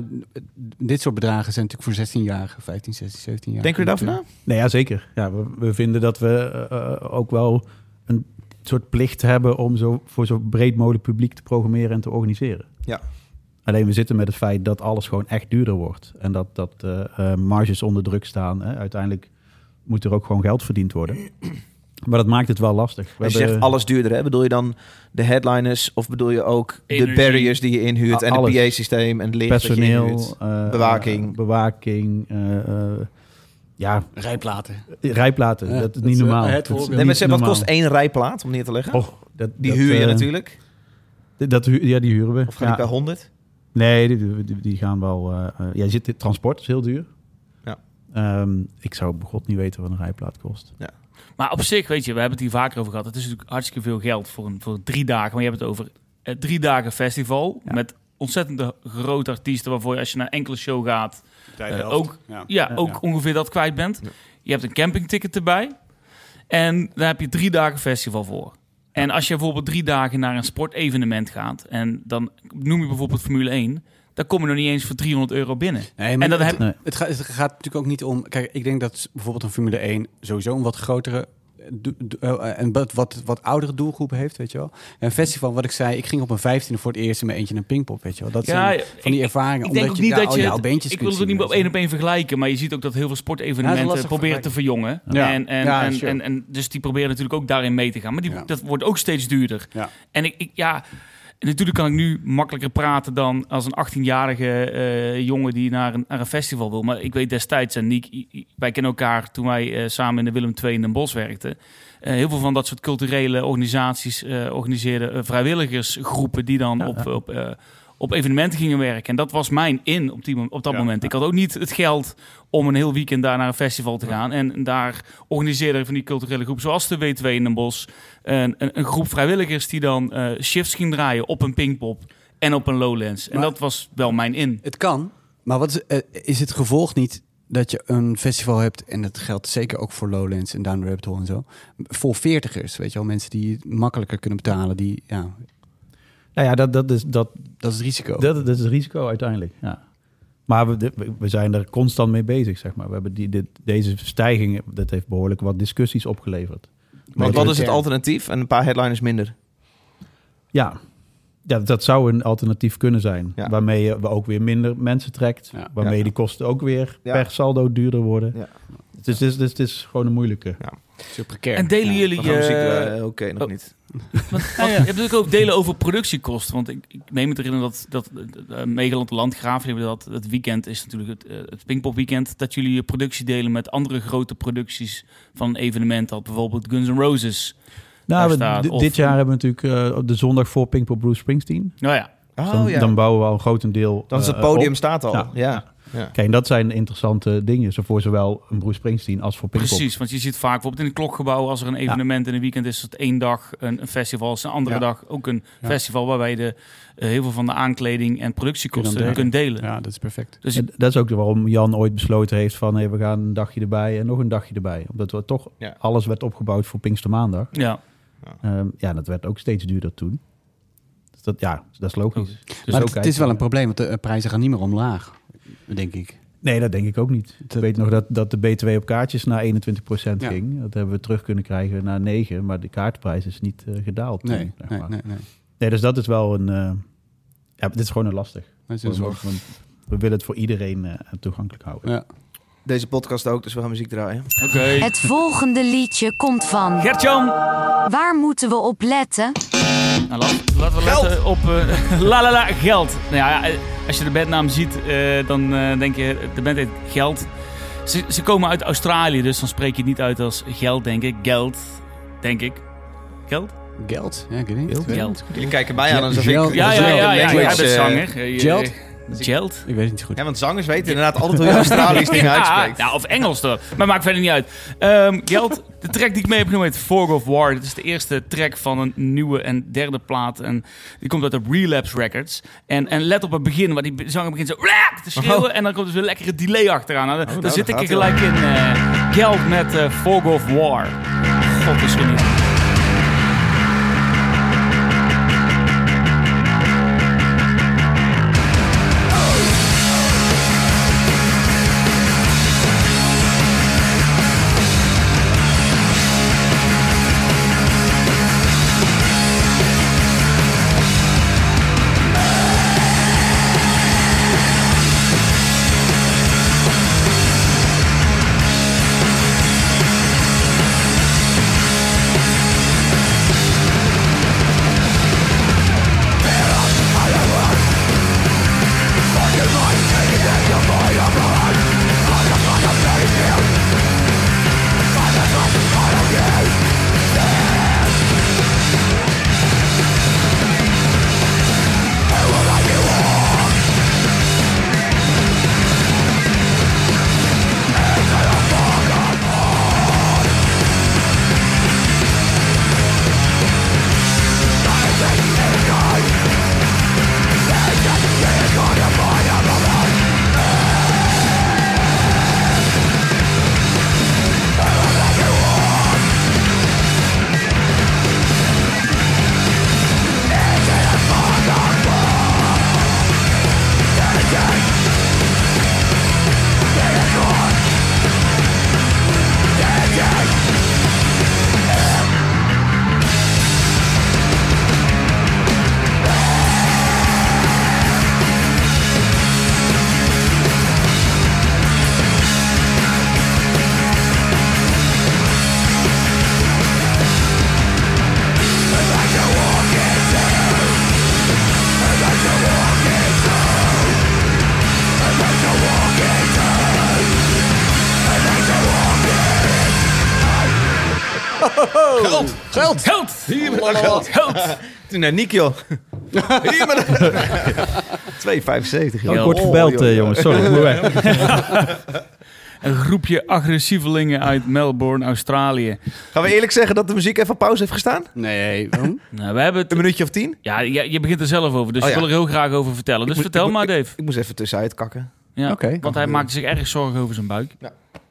D: dit soort bedragen zijn natuurlijk voor 16-jarigen, 15, 16, 17 jaar.
A: Denken jullie daarvan na?
C: Nee, ja, zeker. Ja, we, we vinden dat we eh, eh, ook wel een soort plicht hebben om zo, voor zo breed mogelijk publiek te programmeren en te organiseren.
A: Ja.
C: Alleen we zitten met het feit dat alles gewoon echt duurder wordt. En dat, dat eh, eh, marges onder druk staan. Hè. Uiteindelijk moet er ook gewoon geld verdiend worden. Maar dat maakt het wel lastig. We
A: Als je
C: hebben-
A: zegt alles duurder, hè? bedoel je dan de headliners of bedoel je ook de
B: Energie.
A: barriers die je inhuurt
C: A-
A: en het
C: alles.
A: PA-systeem en het licht dat je
C: personeel,
A: inhuurt?
C: eh,
A: Bewaking.
C: eh, bewaking eh, eh, ja,
D: Rijplaten.
C: rijplaten.
D: Ja,
C: dat is
D: dat
C: niet
D: is, eh,
C: normaal.
D: het
C: Dat is
D: voorbeeld.
A: Nee, maar
C: niet
A: zeg, wat
C: normaal.
A: kost één rijplaat om neer te leggen?
C: Oh, dat,
A: die
C: dat,
A: huur je
C: eh,
A: natuurlijk.
C: Dat, hu- ja, die huren we.
A: Of ga
C: Ja.
A: ik bij 100?
C: Nee, die, die, die gaan wel. eh eh, ja, je zit, transport is heel duur.
A: Ja.
C: Ehm, ik zou op god niet weten wat een rijplaat kost.
B: Maar op zich, weet je, we hebben het hier vaker over gehad. Het is natuurlijk hartstikke veel geld voor, een, voor drie dagen. Maar je hebt het over eh, drie dagen festival
C: Ja.
B: met ontzettende grote artiesten... waarvoor je als je naar enkele show gaat, eh, ook,
D: Ja.
B: ja.
C: Ja.
B: ook
D: Ja.
B: ongeveer dat kwijt bent.
A: Ja.
B: Je hebt een campingticket erbij. En daar heb je drie dagen festival voor. En als je bijvoorbeeld drie dagen naar een sportevenement gaat... en dan noem je bijvoorbeeld Formule 1... dan kom je nog niet eens voor 300 euro binnen.
D: Nee,
B: En
D: maar
B: dan
D: het,
B: heb-
C: Nee.
D: het, gaat, het gaat natuurlijk ook niet om... Kijk, ik denk dat s- bijvoorbeeld een Formule 1 sowieso een wat grotere... eh, do- do- eh, En wat, wat, wat oudere doelgroep heeft, weet je wel. En een festival, wat ik zei, ik ging op mijn vijftiende voor het eerst in mijn eentje naar Pinkpop, weet je wel. Dat
B: Ja,
D: zijn van die
B: ik-
D: ervaringen.
B: Ik denk
D: omdat
B: ook niet
D: daar
B: dat
D: al
B: je...
D: jouw
B: het-
D: beentjes
B: ik
D: kunt
B: wil het ook niet
D: zien,
B: op
D: weet je
B: één op één vergelijken, maar je ziet ook dat heel veel
D: Ja, dat is
B: sportevenementen
D: lastig
B: proberen te verjongen.
D: Ja.
B: En, en,
D: Ja,
B: en,
D: sure.
B: en, en dus die proberen natuurlijk ook daarin mee te gaan. Maar die,
D: Ja.
B: dat wordt ook steeds duurder.
D: Ja.
B: En ik, ik ja, en natuurlijk kan ik nu makkelijker praten dan als een 18-jarige eh, jongen die naar een, naar een festival wil. Maar ik weet destijds, en Niek, i- i- wij kennen elkaar toen wij eh, samen in de Willem II in Den Bosch werkten. Eh, heel veel van dat soort culturele organisaties eh organiseerden eh, vrijwilligersgroepen die dan
C: Ja,
B: op,
C: ja.
B: op, eh, op evenementen gingen werken. En dat was mijn in op, die, mom- op dat
D: Ja,
B: moment.
D: ja.
B: Ik had ook niet het geld om een heel weekend daar naar een festival te gaan. En daar organiseerden van die culturele groep, zoals de W2 in Den Bosch, een, een, een groep vrijwilligers die dan eh, shifts ging draaien op een Pinkpop en op een Lowlands. En
D: Maar-
B: dat was wel mijn in.
D: Het kan, maar wat is, eh, is het gevolg niet dat je een festival hebt... en dat geldt zeker ook voor Lowlands en Down the Rabbit Hole en zo... voor veertigers, weet je wel. Mensen die het makkelijker kunnen betalen, die... Ja,
C: Nou ja, dat, dat, is, dat,
A: Oh.
D: dat is het risico.
C: dat, dat is het risico uiteindelijk. Ja. Maar we, dit- we- we zijn er constant mee bezig, zeg maar. We hebben die, dit, deze stijging, dat heeft behoorlijk wat discussies opgeleverd.
A: Want
C: Weet
A: wat
C: je-
A: is het alternatief? En een paar headliners minder.
C: Ja. ja, dat zou een alternatief kunnen zijn.
A: Ja.
C: Waarmee je ook weer minder mensen trekt.
D: Ja.
C: Waarmee
A: Ja.
C: de kosten ook weer
A: Ja.
C: per saldo duurder worden.
A: Ja.
C: Dus, het is- dus het is gewoon een moeilijke.
D: Zo precair.
B: En delen
D: Ja.
B: jullie...
A: Dan gaan we
B: eh,
A: ziek, eh, Oké, nog
B: oh.
A: niet.
B: Want, want, je hebt natuurlijk ook delen over productiekosten. Want ik, ik neem het erin dat, dat eh, Megaland Landgraaf, die hebben dat, dat weekend is natuurlijk het, eh, het Pinkpop weekend, dat jullie je productie delen met andere grote producties van een evenement, dat bijvoorbeeld Guns N' Roses.
C: Nou,
B: daar
C: we-
B: staat,
C: di-
B: of-
C: dit jaar hebben we natuurlijk eh, op de zondag voor Pinkpop Bruce Springsteen.
B: Nou ja,
C: Dus
A: Oh
C: dan,
A: ja.
C: dan
A: Dan,
C: bouwen we al een grotendeel.
A: is het
C: eh,
A: podium
C: op.
A: staat al. Ja.
C: Ja.
A: ja.
C: Kijk, en dat zijn interessante dingen. Zo voor zowel een Bruce Springsteen als voor Pinkpop.
B: Precies, want je ziet vaak bijvoorbeeld in een klokgebouw als er een evenement in een weekend is, is het één dag een, een festival, is een andere
D: Ja.
B: dag ook een
D: Ja.
B: festival waarbij de eh, heel veel van de aankleding en productiekosten
D: Kun je dan
B: kunt delen.
D: Ja, dat is perfect.
B: Dus
C: En dat is ook waarom Jan ooit besloten heeft van... Hey, we gaan een dagje erbij en nog een dagje erbij. Omdat we toch
A: Ja.
C: alles werd opgebouwd voor Pinkstermaandag.
B: ja,
C: Ehm, ja, dat werd ook steeds duurder toen. Dus dat, ja, dat is logisch.
D: maar
C: Dus zo
D: het, het
C: kijk
D: is
C: je
D: wel een
C: naar.
D: probleem, want de eh, prijzen gaan niet meer omlaag, denk ik.
C: Nee, dat denk ik ook niet. Ik
D: Dat-
C: weet nog dat, dat de BTW op kaartjes naar 21%
D: Ja.
C: ging. Dat hebben we terug kunnen krijgen naar 9%. Maar de kaartprijs is niet eh, gedaald. toen,
D: Nee,
C: zeg
D: nee,
C: maar.
D: nee. nee.
C: Nee, dus dat is wel een... eh, ja, dit is gewoon een lastig.
D: Dat is een zorg.
C: Want we willen het voor iedereen eh, toegankelijk houden.
D: Ja.
A: Deze podcast ook, dus we gaan muziek draaien.
B: oké.
E: Het volgende liedje komt van.
B: Gertjan,
E: Waar moeten we op letten?
B: nou, laat- laten we letten op eh, [LAUGHS] la la la geld. Nou ja, eh, als je de bandnaam ziet, eh, dan eh, denk je de band heet Geld. Ze, ze komen uit Australië, dus dan spreek je het niet uit als geld, denk ik. Geld, denk ik. Geld?
D: Geld? Ja, ik weet niet.
B: Geld.
A: Jullie kijken mij aan alsof
D: Ja,
A: ik...
D: ja,
B: Ja,
A: alsof
B: ja,
A: ik
B: ja,
A: een
B: ja, ja,
A: language,
B: jij bent
A: eh,
B: zanger. Eh, je-
D: Geld?
B: Geld?
D: Ik weet het niet goed.
A: Ja, want zangers weten inderdaad altijd hoe
C: [LAUGHS]
A: je Australisch dingen uitspreekt.
B: Ja, of Engels toch. Maar maakt verder niet uit. Ehm Geld, de track die ik mee heb genomen heet Fog of War. Dat is de eerste track van een nieuwe en derde plaat. En die komt uit de Relapse Records. En, en let op het begin, waar die zanger begint zo "Raak!" te schreeuwen. En dan komt dus weer lekkere delay achteraan. Nou, daar
A: Oh. daar
B: zit ik
A: gaat
B: er
A: hij al.
B: gelijk in. eh Geld met eh, Fog of War. God is geniet.
A: Geld! Geld!
B: Geld!
A: Hier met dat geld!
B: Geld!
A: Toen naar Nick, [LAUGHS] joh. Hier met dat... [LAUGHS] 2,75, joh.
C: Oh, ik word
A: Oh,
C: gebeld,
A: joh.
C: eh, jongens. Sorry, ik moet
D: [LAUGHS]
C: weg.
B: Een groepje agressievelingen uit Melbourne, Australië.
A: Gaan we eerlijk zeggen dat de muziek even op pauze heeft gestaan?
D: Nee,
B: [LAUGHS]
D: waarom?
B: Nou, we hebben het
A: Een minuutje of tien?
B: Ja, je, je begint er zelf over, dus
A: Oh,
B: ik
A: ja.
B: wil er heel graag over vertellen. Dus
A: moet-
B: vertel
A: ik moet-
B: maar, Dave.
A: Ik moest even tussenuit kakken.
B: Ja,
D: Oké, kan
B: want hij maakte zich erg zorgen over zijn buik.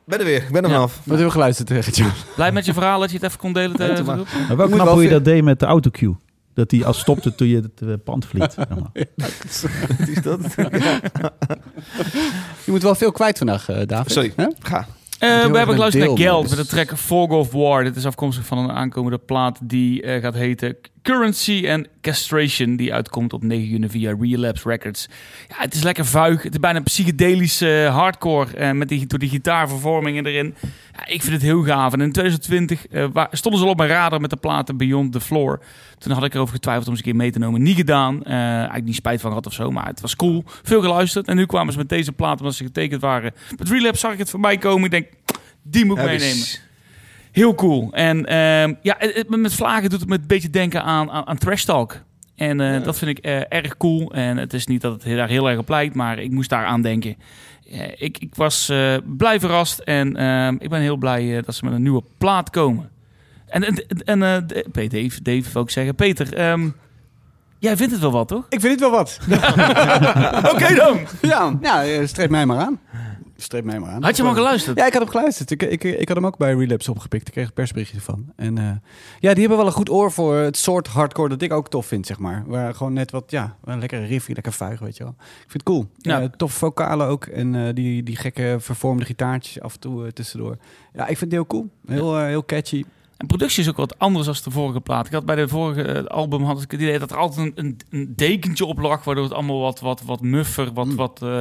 A: Ben er weer, ik ben er
B: Ja.
A: vanaf.
D: Wat hebben we geluisterd eh, tegen John?
B: Blij
A: [LAUGHS]
B: met je verhaal dat je het even kon delen.
A: Ja,
B: Te,
A: doe maar.
C: Maar wel
D: moet
C: knap
D: wel
C: hoe je
D: veel-
C: dat deed met de autocue. Dat hij al stopte toen je het eh, pand vliet. zeg maar.
A: Wat Is dat?
D: Je moet wel veel kwijt vandaag, eh, David.
A: Sorry.
D: Hè?
A: Ga.
B: Eh,
D: heel
B: we
D: erg
B: hebben geluisterd naar
D: een deel,
B: Geld
D: dus-
B: met de track Fog of War. Dit is afkomstig van een aankomende plaat die eh, gaat heten Currency and Castration. Die uitkomt op 9 juni via Relapse Records. Ja, het is lekker vuig. Het is bijna psychedelische eh, hardcore eh, met die, door die gitaarvervormingen erin. Ja, ik vind het heel gaaf. En in 2020 eh, wa- stonden ze al op mijn radar met de platen Beyond the Floor. Toen had ik erover getwijfeld om ze een keer mee te nemen. Niet gedaan. Eh, eigenlijk niet spijt van gehad of zo. Maar het was cool. Veel geluisterd. En nu kwamen ze met deze plaat omdat ze getekend waren. Met Relapse zag ik het voorbij komen. Ik denk, die moet ik
A: Heb
B: meenemen.
A: eens.
B: Heel cool. En ehm, ja, het- het- met vlagen doet het me een beetje denken aan, aan, aan trash talk. En eh, dat vind ik eh, erg cool. En het is niet dat het heel- daar heel erg op lijkt, maar ik moest daar aan denken. Eh, ik, ik was eh, blij verrast en ehm, ik ben heel blij eh, dat ze met een nieuwe plaat komen. En, en, en eh, de- P- Dave, Dave wil ik zeggen. Peter, ehm, jij vindt het wel wat, toch?
D: Ik vind het wel [LAUGHS] wat.
B: Oké dan!
D: ja, nou, eh, streep mij maar aan. Streep mij maar aan.
B: Had je hem al geluisterd?
D: Ja, ik had hem geluisterd. Ik, ik, ik had hem ook bij Relapse opgepikt. Ik kreeg een persberichtje van. En eh, ja, die hebben wel een goed oor voor het soort hardcore dat ik ook tof vind, zeg maar. Waar gewoon net wat, ja, een lekkere riffie, lekker vuig, weet je wel. Ik vind het cool.
B: Ja.
D: Ja. tof vocalen ook. En eh, die, die gekke vervormde gitaartjes af en toe eh, tussendoor. Ja, ik vind het heel cool. Heel, eh, heel catchy.
B: En productie is ook wat anders dan de vorige plaat. Ik had bij de vorige eh, album had ik het idee dat er altijd een, een, een dekentje op lag, waardoor het allemaal wat, wat, wat muffer, wat,
D: Mm.
B: wat eh,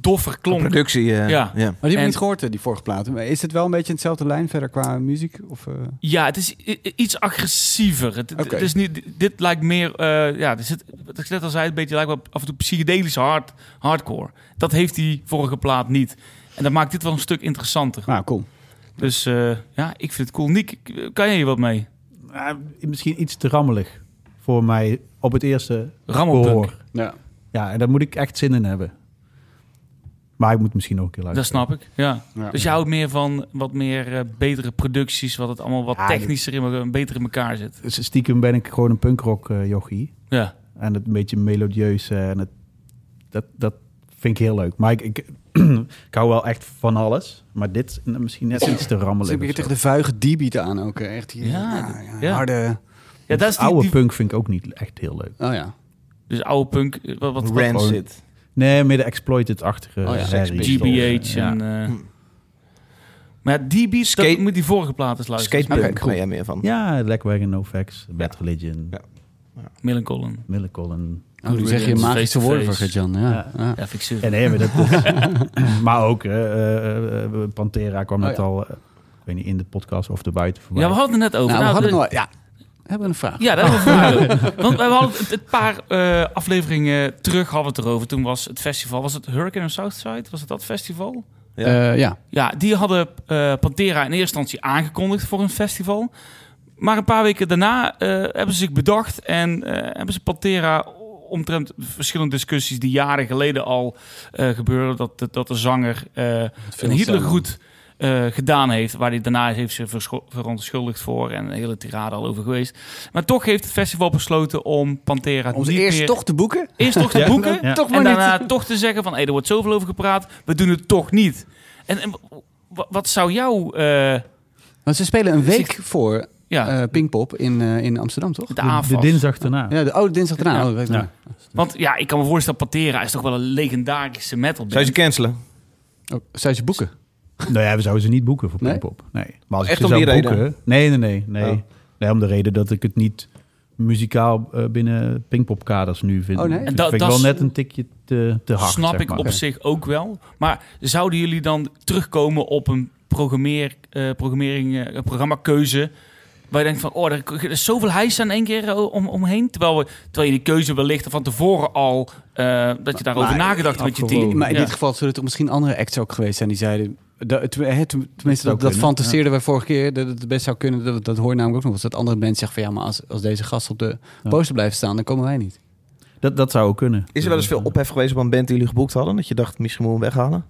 B: doffer klonk.
A: Productie, eh,
B: Ja.
A: ja.
D: Maar die heb
B: En-
D: ik niet gehoord, eh, die vorige plaat. Maar Is het wel een beetje in hetzelfde lijn verder qua muziek? Of, eh,
B: Ja, het is i- i- iets agressiever. Het, het
D: Oké.
B: is niet, dit lijkt meer, eh, ja, er zit, wat ik net al zei, een beetje lijkt wel af en toe psychedelisch hard, hardcore. Dat heeft die vorige plaat niet. En dat maakt dit wel een stuk interessanter.
D: Nou, cool.
B: Dus eh, ja, ik vind het cool. Nick, kan jij hier wat mee?
C: Eh, Ah, misschien iets te rammelig voor mij op het eerste
B: Rammelpunk.
C: gehoor.
D: Ja.
C: Ja, en daar moet ik echt zin in hebben. Maar ik moet misschien nog een keer
B: Dat
C: luisteren.
B: snap ik, ja.
D: Ja.
B: Dus je houdt meer van wat meer eh, betere producties, wat het allemaal wat
C: Ja,
B: technischer in, elkaar- beter in elkaar zit.
C: Dus Stiekem ben ik gewoon een punkrock eh, jochie.
B: Ja,
C: En het een beetje melodieus. eh, en het, dat, dat vind ik heel leuk. Maar ik, ik, [CLEARS THROAT] ik hou wel echt van alles. Maar dit is misschien net iets te
D: Dus ik
C: rammelig.
D: begin
C: of zo.
D: tegen de vuige D-beat aan ook. eh, Echt hier.
B: Ja,
D: Ja, ja,
B: ja.
D: Harde.
B: ja dat is die,
C: Oude
B: die-
C: punk vind ik ook niet echt heel leuk.
D: Oh ja.
B: Dus oude punk, eh, wat, wat, wat
A: Rancid.
C: Nee, meer de exploited-achtige
D: Oh ja,
C: series.
A: Sex
B: GBH
C: Ja.
B: en... eh, maar ja, die beat,
A: Skate-
B: dat moet die vorige plaat eens luisteren.
A: Skatepunk
D: Oké, cool.
A: ben jij meer van.
C: Ja, Blackwagon, NoFX, Bad Religion,
A: Ja.
B: Millencolin.
C: Millie Collin.
D: Oh, nu zeg je
B: Face
D: magische
B: to
D: woorden voor
B: face.
D: Gert-Jan. Ja. Nou,
C: Ja.
D: Ja.
B: Ja, vind ik super.
C: Ja, nee, maar, dat is- [LAUGHS] maar ook eh, eh, eh, Pantera kwam
D: Oh
C: net
D: ja.
C: al, eh, ik weet niet, in de podcast of erbuiten voorbij.
B: Ja, we hadden het net over.
D: Nou, we
B: Nou,
D: hadden
B: de-
D: nog... Ja, we hebben een vraag.
B: Ja, dat is een vraag. Want we hadden het een paar eh, afleveringen terug hadden we het erover. Toen was het festival, was het Hurricane of Southside? Was het dat festival?
A: Ja.
D: Eh, ja.
B: Ja, die hadden eh, Pantera in eerste instantie aangekondigd voor een festival. Maar een paar weken daarna eh, hebben ze zich bedacht en eh, hebben ze Pantera omtrent verschillende discussies die jaren geleden al eh gebeurden. Dat, dat, dat de zanger eh, een Hitlergroet eh gedaan heeft, waar hij daarna heeft ze verscho- verontschuldigd voor en een hele tirade al over geweest. Maar toch heeft het festival besloten om Pantera
D: Om ze
B: niet
D: eerst
B: meer-
D: toch te boeken.
B: eerst toch te boeken
C: Ja.
D: Toch maar
B: en
D: niet.
B: daarna toch te zeggen van, hé, er wordt zoveel over gepraat, we doen het toch niet. En, en wa- wat zou jou, eh,
D: Want ze spelen een week voor
B: ja,
D: eh Pinkpop in, eh, in Amsterdam, toch?
B: de
C: de, de
B: aanval?
C: dinsdag daarna.
D: Ja, de oude dinsdag daarna.
B: Ja.
D: Oh, dat weet ik
C: Ja.
D: niet.
B: Want ja, ik kan me voorstellen, Pantera is toch wel een legendarische metal
A: Zou je ze cancelen?
D: Oh, zou je ze boeken?
C: Nou ja, we zouden ze niet boeken voor
D: Nee?
C: Pinkpop. Nee. Maar als
A: Echt
C: ik
A: om
C: ze zou
A: die
C: boeken...
A: reden?
C: Nee, nee, nee. Nee.
A: Oh.
C: nee, om de reden dat ik het niet muzikaal eh, binnen Pinkpop-kaders nu vind.
D: Oh, nee? En
C: Dat
B: dat-
C: vind
B: dat
C: ik wel
B: is-
C: net een tikje te, te hard,
B: Snap
C: zeg
B: ik
C: maar.
B: op zich ook wel. Maar zouden jullie dan terugkomen op een programmeer, eh, programmering, eh, programmakeuze... waar je denkt van, oh, er er is zoveel hijs aan één keer eh, om, omheen... Terwijl, we, terwijl je die keuze wellicht van tevoren al... eh, dat je daarover
D: Maar-
B: nagedacht hebt met je team.
C: afgewogen.
D: Maar in
B: Ja.
D: dit geval zullen er misschien andere acts ook geweest zijn die zeiden... Dat, te- hè, te- tenminste,
C: zou
D: dat, dat
C: kunnen,
D: fantaseerden wij vorige keer, dat het het best zou kunnen. Dat, dat hoor je namelijk ook nog eens. Dat andere mensen zeggen van ja, maar als, als deze gast op de
C: Ja.
D: poster blijft staan, dan komen wij niet.
C: Dat, dat zou ook kunnen.
A: Is er wel eens veel ophef geweest op een band die jullie geboekt hadden? Dat je dacht, misschien moeten we hem weghalen?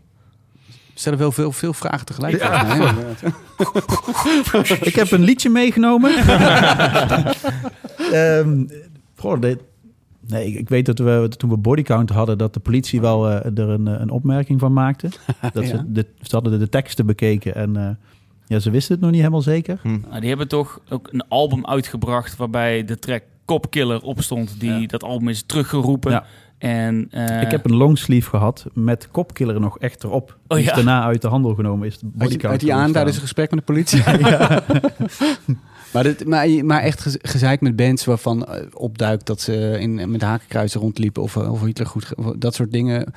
D: Ze stellen wel veel, veel vragen tegelijk.
B: Ja.
D: Ja.
C: Ik heb een liedje meegenomen.
B: [LAUGHS]
C: Ehm, goh, dit- nee, ik, ik weet dat we toen we bodycount hadden, dat de politie wel eh, er een, eh, een opmerking van
B: [LAUGHS]
C: maakte. Dat
D: Ja.
C: ze, de, ze hadden de, de teksten bekeken en eh, ja, ze wisten het nog niet helemaal zeker.
B: Nou, die hebben toch ook een album uitgebracht waarbij de track Copkiller op stond. Die,
C: Ja.
B: Dat album is teruggeroepen.
C: Ja.
B: En, eh,
C: Ik heb een longsleeve gehad met kopkiller nog echt erop.
B: Oh,
C: Die
B: ja.
C: is daarna uit de handel genomen. Is de
D: Uit, die-
C: bodycount
D: uit die
C: ontstaan.
D: aan, daar is een gesprek met de politie.
C: [LAUGHS]
D: [LAUGHS] maar, dit, maar, maar echt gez- gezeik met bands waarvan eh, opduikt dat ze in, met hakenkruisen rondliepen of, eh, of Hitler goed... ge- of dat soort dingen.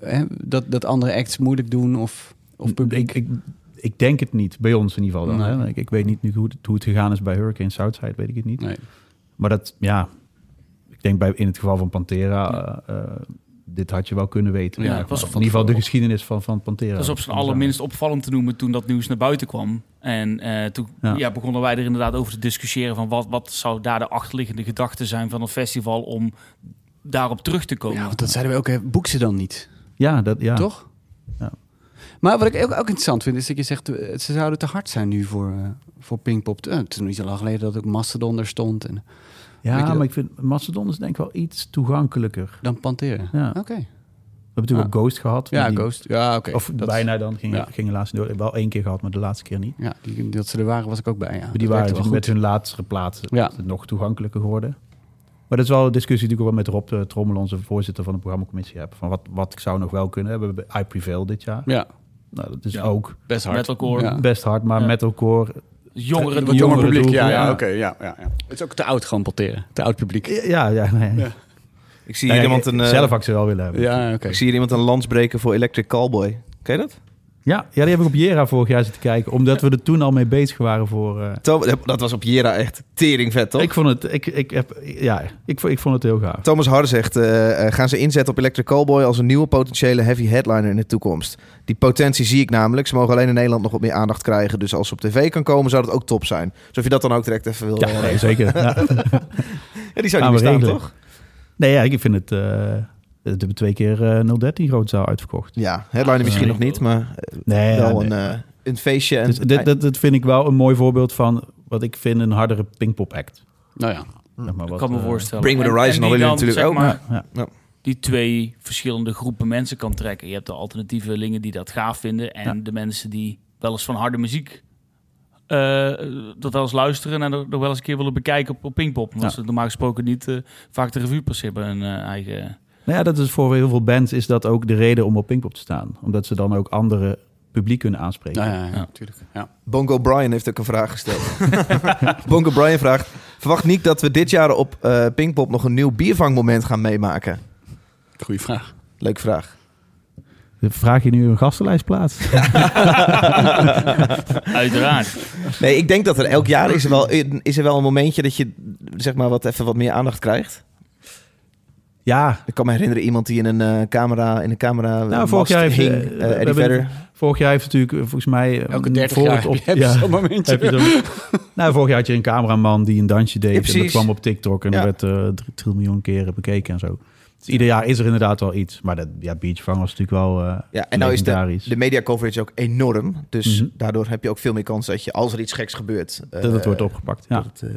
D: Hè, dat, dat andere acts moeilijk doen of, of publiek.
C: Ik, ik, ik denk het niet, bij ons in ieder geval dan.
D: Nee.
C: Hè? Ik, ik weet niet nu hoe het, hoe het gegaan is bij Hurricane Southside, weet ik het niet.
D: Nee.
C: Maar dat, ja, ik denk bij, in het geval van Pantera, eh, eh, dit had je wel kunnen weten.
B: Ja,
C: zeg
B: het was
C: maar.
B: van
C: in ieder geval de
B: tevoren.
C: geschiedenis van, van Pantera.
B: dat is op zijn
C: Van-
B: allerminst opvallend te noemen toen dat nieuws naar buiten kwam. En eh, toen ja.
C: Ja.
B: begonnen wij er inderdaad over te discussiëren van wat, wat zou daar de achterliggende gedachte zijn van een festival om daarop terug te komen.
D: Ja, want dat zeiden we ook, hè, boek ze dan niet,
C: Ja, dat, Oh. ja.
D: toch?
C: Ja.
D: Maar wat ik ook, ook interessant vind, is dat je zegt, eh, ze zouden te hard zijn nu voor, eh, voor Pinkpop. Eh, het is nog niet zo lang geleden dat ook Mastodon er stond en
C: Ja,
D: Weet je
C: maar
D: dat-
C: ik vind Macedon is denk ik wel iets toegankelijker.
D: dan Pantera.
C: Ja.
D: Oké.
C: We hebben natuurlijk ook Ghost gehad. maar
D: Ah. Ja,
C: die-
D: Ghost. Ja, oké.
C: Of
D: Dat-
C: bijna dan, ging,
D: ja.
C: ging helaas niet door. Wel één keer gehad, maar de laatste keer niet.
D: Ja, die, dat ze er waren was ik ook bij. Ja.
C: Maar die
D: Dat werkte
C: waren met hun laatste plaat
D: Ja.
C: is het nog toegankelijker geworden. Maar dat is wel een discussie die ik ook wel met Rob eh, Trommel, onze voorzitter van de programmacommissie, heb. Van wat, wat zou nog wel kunnen hebben bij I Prevail dit jaar.
D: Ja,
C: Nou, dat is
B: Ja.
C: ook
D: best hard.
B: Metalcore,
D: Ja.
C: best hard, maar
B: Ja.
C: metalcore
B: jongeren,
C: Wat jonger
B: jongeren-
C: publiek, ja, ja,
D: ja, ja, Het is ook te oud gewoon Pantera. Te oud publiek. Ja,
C: Ja, ja, nee.
D: Ja.
A: Ik zie hier iemand een... eh,
C: Zelf had ik ze wel willen hebben. Ja.
D: oké.
A: Ik zie hier iemand een lans breken voor Electric Callboy. Ken je dat?
C: Ja, die heb ik op Jera vorig jaar zitten kijken, omdat we er toen al mee bezig waren voor... eh,
A: Tho- dat was op Jera echt teringvet, toch?
C: ik vond het, ik, ik heb, ja, ik, vond- ik vond het heel gaaf.
A: Thomas Har zegt, eh, eh, gaan ze inzetten op Electric Callboy als een nieuwe potentiële heavy headliner in de toekomst? Die potentie zie ik namelijk. Ze mogen alleen in Nederland nog wat meer aandacht krijgen. Dus als ze op tv kan komen, zou dat ook top zijn. Dus of je dat dan ook direct even wil...
C: Ja,
A: eh,
C: nee, zeker. Ja.
A: ja,
C: [LAUGHS]
A: die zou
C: Gaan
A: niet
C: we
A: bestaan,
C: regelen.
A: toch?
C: Nee, ja, ik vind het... eh, We hebben twee keer eh 013 grootzaal uitverkocht.
A: Ja, headliner misschien
C: Ah, nee.
A: nog niet, maar eh,
C: Nee,
A: wel
C: ja,
A: een,
C: nee.
A: eh, een feestje. En,
C: Dus dit, dat, dat vind ik wel een mooi voorbeeld van wat ik vind een hardere pingpop act.
D: Nou ja.
C: Zeg maar
B: Ik
C: wat,
B: kan me
C: eh,
B: voorstellen.
A: Bring Me The
B: En-
A: Horizon
B: en die
A: hadden jullie
B: dan,
A: natuurlijk ook.
B: zeg maar,
C: ja, ja.
B: die twee verschillende groepen mensen kan trekken. Je hebt de alternatievelingen die dat gaaf vinden en
C: Ja.
B: de mensen die wel eens van harde muziek eh, dat wel eens luisteren en er, er wel eens een keer willen bekijken op, op Pinkpop. Omdat
C: Ja.
B: ze normaal gesproken niet eh, vaak de revue passeren bij hun eh, eigen...
C: Nou ja, dat is voor heel veel bands is dat ook de reden om op Pinkpop te staan. Omdat ze dan ook andere publiek kunnen aanspreken.
D: Nou ja, ja,
B: Ja.
D: natuurlijk. Ja.
A: Bongo Brian heeft ook een vraag gesteld. [LAUGHS] Bongo Brian vraagt... Verwacht niet dat we dit jaar op eh Pinkpop nog een nieuw biervangmoment gaan meemaken.
D: Goeie vraag.
A: Leuke vraag. [LAUGHS]
C: Vraag je nu een gastenlijst plaats?
B: Uiteraard.
A: Nee, ik denk dat er elk jaar is er wel, is er wel een momentje dat je zeg maar, wat, even wat meer aandacht krijgt.
C: [LAUGHS] ja,
A: Ik kan me herinneren iemand die in een eh, camera... In een camera
C: Nou,
A: mast
C: vorig jaar heeft,
A: hing,
C: eh,
A: eh,
C: we
A: Eddie
C: hebben-
A: Vedder.
C: vorig jaar heeft natuurlijk eh, volgens mij... eh,
D: Elke 30
C: voor
D: jaar
C: het
A: [LAUGHS]
C: op-
D: heb je
C: [LAUGHS] ja,
D: zo'n momentje.
C: heb je zo'n- [LAUGHS] nou, vorig jaar had je een cameraman die een dansje
A: Ja,
C: deed. en dat
A: precies.
C: kwam op TikTok en
A: Ja.
C: dat werd eh, drie triljoen keren bekeken en zo. Dus ieder jaar is er inderdaad wel iets. Maar dat, ja, Beachvang was natuurlijk wel eh
A: Ja, en nou is de,
C: legendarisch.
A: de media coverage ook enorm. Dus
C: Mhm.
A: daardoor heb je ook veel meer kans dat je, als er iets geks gebeurt... eh,
C: dat het wordt opgepakt. Ja.
A: dat het, eh,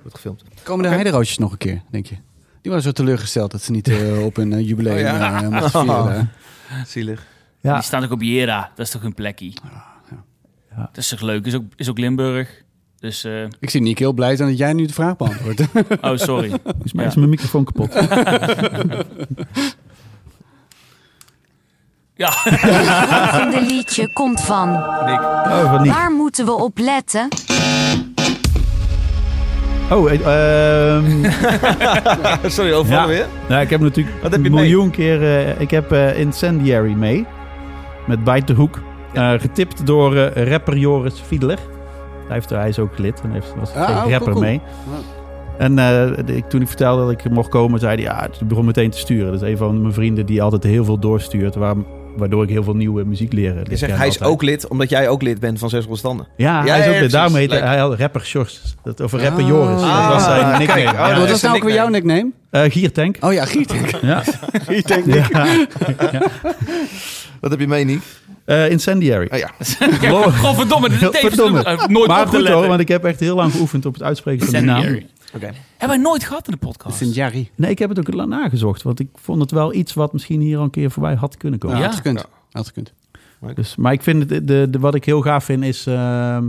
A: wordt gefilmd.
D: Komen de heideroosjes nog een keer, denk je? Die waren zo teleurgesteld dat ze niet [LAUGHS] eh, op een eh, jubileum
A: Oh ja.
D: eh, mochten vieren.
A: Oh. Zielig.
C: Ja.
B: Die staan ook op Jera. Dat is toch een plekje?
C: Ja.
B: Dat is toch leuk? Is ook, is ook Limburg. Dus, eh,
D: Ik zie Nick heel blij zijn dat jij nu de vraag [LAUGHS] beantwoordt.
C: [LAUGHS]
B: oh sorry.
C: Volgens mij
B: Ja.
C: is mijn microfoon
A: [LAUGHS]
C: kapot.
B: Ja,
E: Volgende liedje komt van.
C: Oh, van niet.
E: Waar moeten we op letten?
C: Oh, eh,
A: [LAUGHS]
C: ehm,
A: Sorry,
C: Ja.
A: overvallen weer?
C: Nou, ik heb natuurlijk
A: Wat heb je
C: een
A: mee?
C: miljoen keer... eh, ik heb eh, Incendiary mee. Met Bite the Hook. Eh, getipt door eh, rapper Joris Fiedler. Hij, heeft, hij is ook lid en heeft, was
D: Ah, oh,
C: geen
D: cool,
C: rapper
D: cool.
C: mee. En eh, de- ik, toen ik vertelde dat ik er mocht komen, zei hij... Ja, toen begon meteen te sturen. Dat is een van mijn vrienden die altijd heel veel doorstuurt. Waar, waardoor ik heel veel nieuwe muziek leer. leer
A: Je zegt,
C: kennen
A: hij is
C: altijd.
A: ook lid, omdat jij ook lid bent van Zes Standen.
C: Ja,
A: Ja, ja,
C: hij is ook lid.
A: precies.
C: Daarom heet hij,
A: Lijkt-
C: hij had rapper Sjors. Dat, of rapper
D: Ah.
C: Joris.
A: Ah,
C: dat was zijn
A: kijk.
C: nickname.
A: Oh,
C: Ja.
A: dat
D: Wat
A: is
D: was nou ook weer jouw
A: nickname.
D: nickname?
C: Eh, Giertank.
D: Oh ja, Giertank. [LAUGHS]
C: Ja. Giertank.
A: Wat heb je mee, Nick?
C: Eh, Incendiary.
A: Oh ja.
B: [LAUGHS] godverdomme. Dit is tevens-
C: Godverdomme.
B: heb ik Nooit
C: Maar
B: op te
C: goed hoor,
B: letten.
C: want ik heb echt heel lang geoefend op het uitspreken van die naam.
B: Incendiary.
A: [LAUGHS] Oké.
B: Hebben wij nooit gehad in de podcast.
D: Sint-Jari.
C: Nee, ik heb het ook lang nagezocht, want ik vond het wel iets wat misschien hier al een keer voorbij had kunnen komen.
D: Ja,
B: Ja.
D: had gekund. Had gekund.
C: Dus, maar ik vind het, de, de, wat ik heel gaaf vind is, ehm,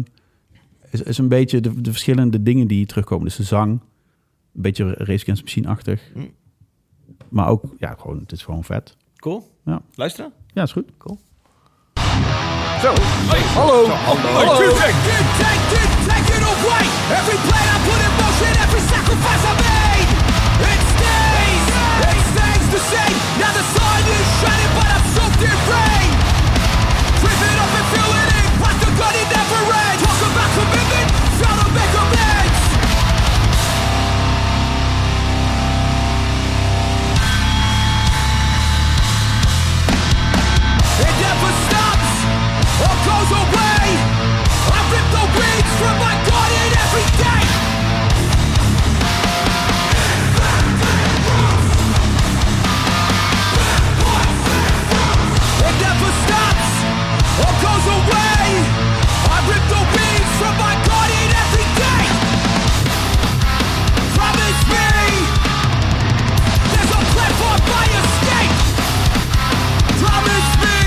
C: is, is een beetje de, de verschillende dingen die hier terugkomen. Dus de zang, een beetje Race Against the Machine-achtig.
A: Hm.
C: Maar ook, ja, gewoon, het is gewoon vet.
A: Cool.
C: Ja.
A: Luisteren?
C: Ja, is goed.
A: Oh,
F: It never stops or goes away. I rip the weeds from my garden every day. It never stops or goes away. I rip the weeds from my garden every day. Promise me there's a platform by escape. Promise me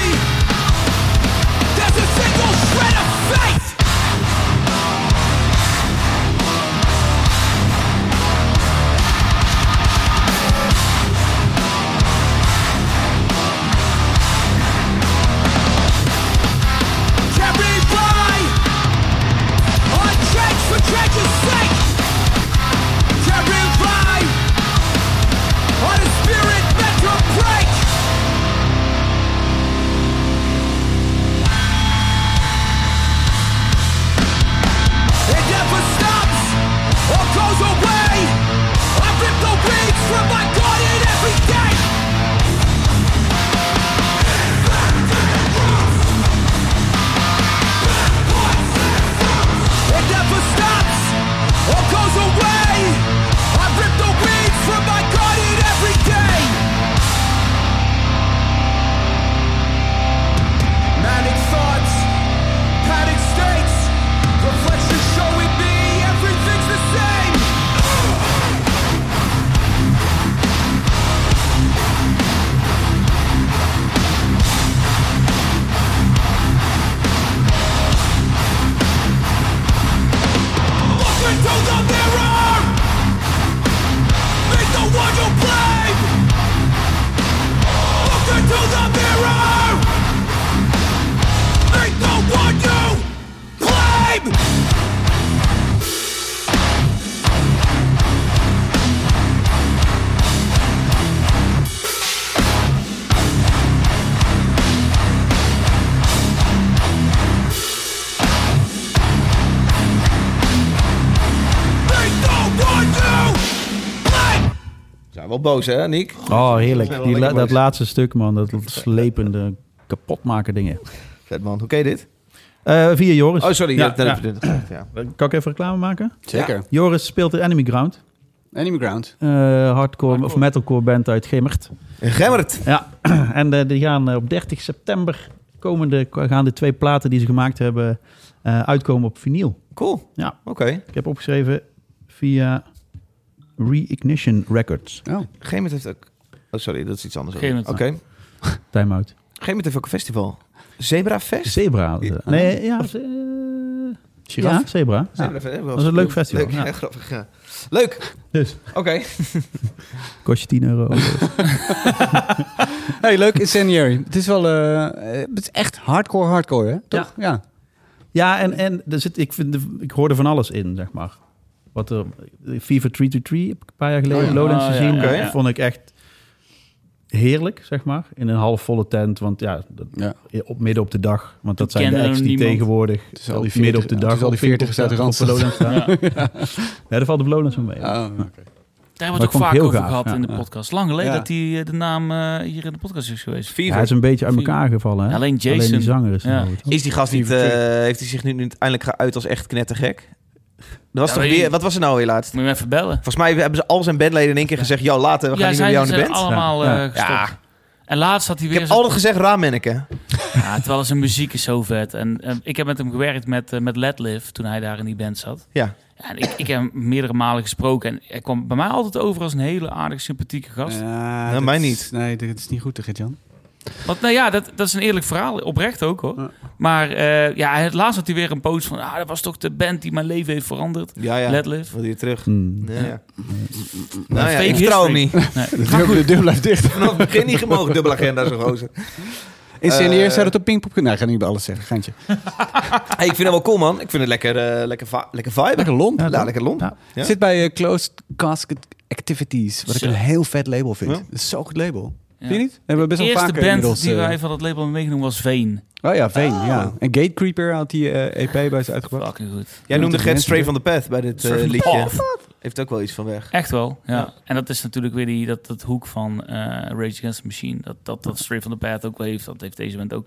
F: There's a single shred of faith Carry by
A: wel boos, hè, Nick?
C: Oh, heerlijk. Die,
A: Lekker
C: la- dat
A: boos.
C: laatste stuk, man. Dat slepende, kapotmaker dingen.
A: Vet man, hoe ken je dit?
C: Eh, via Joris.
A: Oh, sorry.
B: Ja,
A: Ja, dat
B: ja.
A: heb je net gezegd, ja.
C: Eh, Kan ik even reclame maken?
D: Zeker.
C: Joris speelt de Enemy Ground.
D: Enemy Ground.
C: eh, hardcore of metalcore band uit Gimmert.
A: Gemmert.
C: Ja, [CLEARS THROAT] en eh, die gaan eh, op 30 september komende gaan de twee platen die ze gemaakt hebben eh, uitkomen op vinyl.
A: Cool.
C: Ja.
A: Oké.
C: Ik heb opgeschreven via Reignition Records.
D: Oh.
A: Gemmert heeft ook... Oh, sorry, dat is iets anders. Oké.
B: Gemmert.
C: Time out.
A: Gemmert heeft ook een festival. Zebra Fest?
C: Zebra.
A: Ja.
C: Nee, ja. ze- eh, ja, Zebra. Ja.
A: Zebra Fest, hè? Wel
C: Dat is een leuk festival,
A: Leuk,
C: ja.
A: ja, grappig. ja. Leuk.
C: Dus,
A: Oké.
C: kost je 10 euro. [LAUGHS]
D: Hey, leuk Incendiary. Het is wel... eh, eh, het is echt hardcore hardcore, hè? Toch? Ja.
C: Ja, en, en er zit, ik, vind, ik hoorde van alles in, zeg maar. Wat er, FIFA 323 heb ik een paar jaar geleden
D: Oh ja.
C: Lowlands
B: Oh ja,
C: gezien.
A: ja, ja.
C: Vond ik echt heerlijk, zeg maar. In een halfvolle tent, want ja, dat-
D: Ja.
C: op, midden op de dag. Want dat
B: Toen
C: zijn de
B: kende
C: acts
B: er
C: die
B: niemand.
C: tegenwoordig
D: is al die
C: op- midden op de
D: 40
C: dag
D: het is al die
C: op Pinkpop
D: 40 uit de Randstad.
C: staan, op Lowlands staan.
B: Ja.
C: Nee, daar valt op Lowlands van mee.
D: Oh, oké.
B: Daar
C: Maar
B: hebben we het ook
C: ik vond het
B: vaak
C: heel
B: over
C: gaaf,
B: gehad
C: ja.
B: in de podcast. Lang geleden
D: Ja.
B: dat die, eh, de naam eh, hier in de podcast is geweest.
C: Ja, hij is een beetje uit elkaar gevallen, hè?
B: Alleen Jason.
C: Alleen die zanger is er nou
B: Ja.
C: nog goed.
A: Is die gast niet...
D: Fever
A: eh,
D: Tree.
A: heeft hij zich nu nu uiteindelijk geuit als echt knettergek? Dat was
B: Ja,
A: toch
B: weet je-
A: weer... Wat was er nou weer laatst?
B: Moet je hem even bellen.
A: Volgens mij hebben ze al zijn bandleden in één keer gezegd... Yo, later, we gaan
B: ja,
A: niet meer bij jou in de
B: zijn
A: band.
B: allemaal
C: Ja.
B: eh,
C: Ja.
B: gestopt. En laatst had hij
A: Ik
B: weer...
A: heb
B: zo'n-
A: altijd gezegd raamenneke.
B: Ja, terwijl zijn muziek is zo vet. En eh, ik heb met hem gewerkt met, eh, met Letliv toen hij daar in die band zat.
A: Ja.
B: en ik, ik heb hem meerdere malen gesproken. En hij kwam bij mij altijd over als een hele aardig sympathieke gast.
D: Ja,
A: Nou,
D: dat
A: mij
D: is-
A: niet.
D: Nee, dit is niet goed, hè, [LAUGHS] Gert-Jan?
B: Want nou ja, dat, dat is een eerlijk verhaal. Oprecht ook hoor.
D: Ja.
B: Maar eh, ja, het laatst had hij weer een post van... Ah, dat was toch de band die mijn leven heeft veranderd.
A: Ja, ja.
B: Letliv.
A: Wil je terug?
C: Hmm.
A: Ja. Nou ja,
B: Fake
A: ik vertrouw hem niet.
B: history.
D: De deur, de deur blijft dicht.
A: Vanaf het begin niet gemogen, dubbele agenda, zo'n gozer.
D: Incendiary
A: Eh,
D: zou dat op Pinkpop kunnen... Nee, ik ga niet bij alles zeggen. Geintje.
A: Hey, ik vind hem wel cool, man. Ik vind het lekker, eh, lekker, va- lekker vibe.
D: Lekker lomp.
A: Ja,
C: Ja, toch?
A: lekker lomp.
C: Ja.
A: Ja.
D: Zit bij eh, Closed Casket Activities. Wat ik
B: Zo.
D: een heel vet label vind.
A: Ja.
D: Dat is zo'n goed label.
B: Ja.
D: Vind je niet? Hebben we best
B: De
D: wel
B: eerste
D: vaker
B: band
D: inmiddels...
B: die
D: eh,
B: wij van dat label hebben meegenomen was Veen.
D: Oh ja, Veen, ja. En Gatecreeper had die eh, EP bij ze uitgebracht.
B: Fucking goed.
A: Jij noemde
D: Ja.
A: Get Stray van the Path bij dit eh,
B: Stray van the
A: liedje.
B: Path.
A: Heeft ook wel iets van weg.
B: Echt wel, ja.
A: Ja.
B: En dat is natuurlijk weer die, dat, dat hoek van eh, Rage Against the Machine. Dat, dat, dat Straight from the Path ook wel heeft. Dat heeft deze band ook.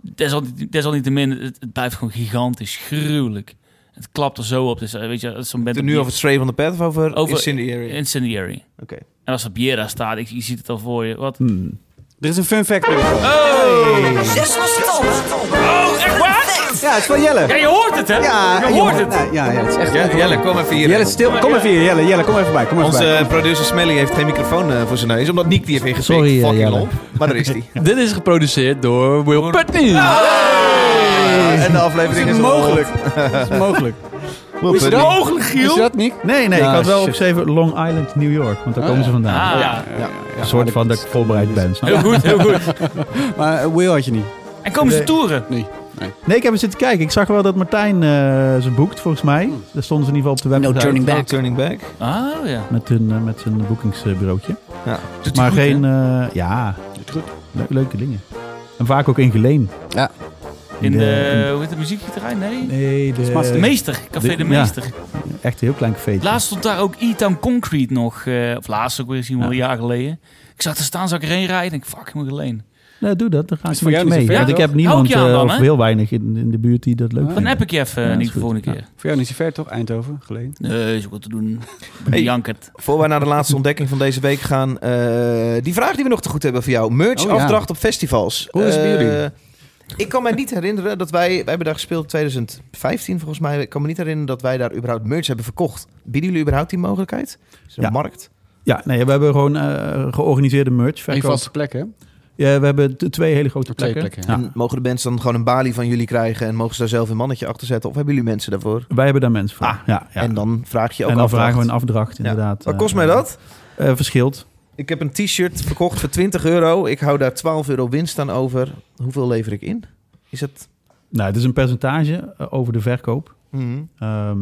B: Desal- Desalniettemin, het, het blijft gewoon gigantisch. Gruwelijk. Het klapt er zo op. Dus eh, weet je, dat is zo'n band...
A: Heb je het nu over Stray van the Path of over,
B: Over-
A: Incendiary?
B: Incendiary.
A: Oké.
B: En als op Biera staat, ik, je ziet het al voor je. Wat?
C: Hmm.
D: Er is een fun fact bij dit.
F: Zes van stom.
B: Oh, echt waar?
D: Ja, het is van Jelle.
B: Ja, je hoort het, hè?
D: Ja,
B: je hoort het.
D: Ja, ja, ja, het is echt...
A: Jelle, Jelle, kom even hier.
D: Jelle, stil. Kom even hier, Jelle. Jelle, kom even bij. Kom even bij.
A: Onze eh, producer Smelly heeft geen microfoon eh, voor zijn neus, omdat Nick die heeft ingepikt.
C: Sorry, eh,
A: Fucking
C: Jelle.
A: lomp. Maar daar is hij.
G: [LAUGHS] Dit is geproduceerd door Will Putney.
A: en de aflevering
D: Is
A: is
D: het
A: al-
D: mogelijk? Dat is mogelijk.
A: Whoop,
D: Is het
A: eh,
B: Mogelijk,
D: Is
B: Giel.
D: dat, Nick?
C: Nee, nee, ik
D: Nou,
C: had wel
D: shit.
C: opgeschreven Long Island, New York. Want daar komen ze vandaan.
B: Ah, ja.
C: Een
D: Ah,
C: soort van dat [LAUGHS] ik voorbereid ben. snap je?
B: Heel goed, heel goed.
D: [LAUGHS] Maar eh, Will had je niet.
B: En komen ze toeren?
D: Nee.
C: Nee, ik heb eens zitten kijken. Ik zag wel dat Martijn eh, ze boekt, volgens mij. Daar stonden ze in ieder geval op de website.
A: Hmm. No turning back.
B: Oh, ja.
C: Met hun, eh, met hun boekingsbureautje.
A: Ja.
C: Maar geen... eh, ja,
D: Doet goed.
C: le- leuke dingen. En vaak ook in Geleen.
D: Ja.
B: In de, hoe heet de muziekgieterij? Nee.
C: Nee,
A: Eh,
C: de...
B: De Meester, Café
C: De-
B: de Meester.
C: Echt een heel klein cafeetje.
B: Laatst stond daar ook E-Town Concrete nog. eh, of laatst ook weer, zien we al een jaar geleden. Ik zag er staan, zag ik erheen rijden. Ik denk, fuck, ik moet alleen.
C: Nee, doe dat. Dan ga
D: Is
C: ik
D: voor
C: met je
D: jou niet zoveel,
C: mee. Want ik
D: toch?
C: heb niemand,
B: Elk jaar
C: eh,
B: dan,
C: of
B: hè?
C: heel weinig in, in de buurt die dat leuk
A: Ah.
B: Dan
D: Dan
C: vinden.
B: heb ik je even,
C: Ja,
B: niet
C: is
B: de
C: goed.
B: volgende
C: Ja.
B: keer.
D: Voor jou niet zo ver, toch? Eindhoven, geleden.
B: Nee, is ook wat te doen.
A: Hey.
B: Hey. Jankert.
A: Voor wij naar de laatste ontdekking van deze week gaan. eh, die vraag die we nog te goed hebben voor jou. Merch
D: Oh, ja.
A: afdracht op festivals.
D: Hoe is het bij
A: Eh,
D: jullie?
A: Ik kan mij niet herinneren dat wij... Wij hebben daar gespeeld in 2015 volgens mij. Ik kan me niet herinneren dat wij daar überhaupt merch hebben verkocht. Bieden jullie überhaupt die mogelijkheid? Is er een
C: Ja.
A: markt?
C: Ja, nee, we hebben gewoon eh, georganiseerde merch.
D: Een
C: Verkoop.
D: vaste plek, hè?
C: Ja, we hebben t- twee hele grote
D: Twee
C: plekken.
D: plekken,
C: Ja.
A: En mogen de mensen dan gewoon een balie van jullie krijgen... en mogen ze daar zelf een mannetje achter zetten? Of hebben jullie mensen daarvoor?
C: Wij hebben daar mensen voor.
A: Ah,
C: ja, ja.
A: En dan vraag je ook
C: En dan
A: afdracht.
C: vragen we een afdracht,
A: Ja.
C: inderdaad.
A: Wat kost
C: Eh,
A: mij dat?
C: eh, verschilt.
A: Ik heb een t-shirt verkocht voor 20 euro. Ik hou daar 12 euro winst aan over. Hoeveel lever ik in? Is het...
C: Nou, het is een percentage eh, over de verkoop.
A: Mhm.
C: Ehm,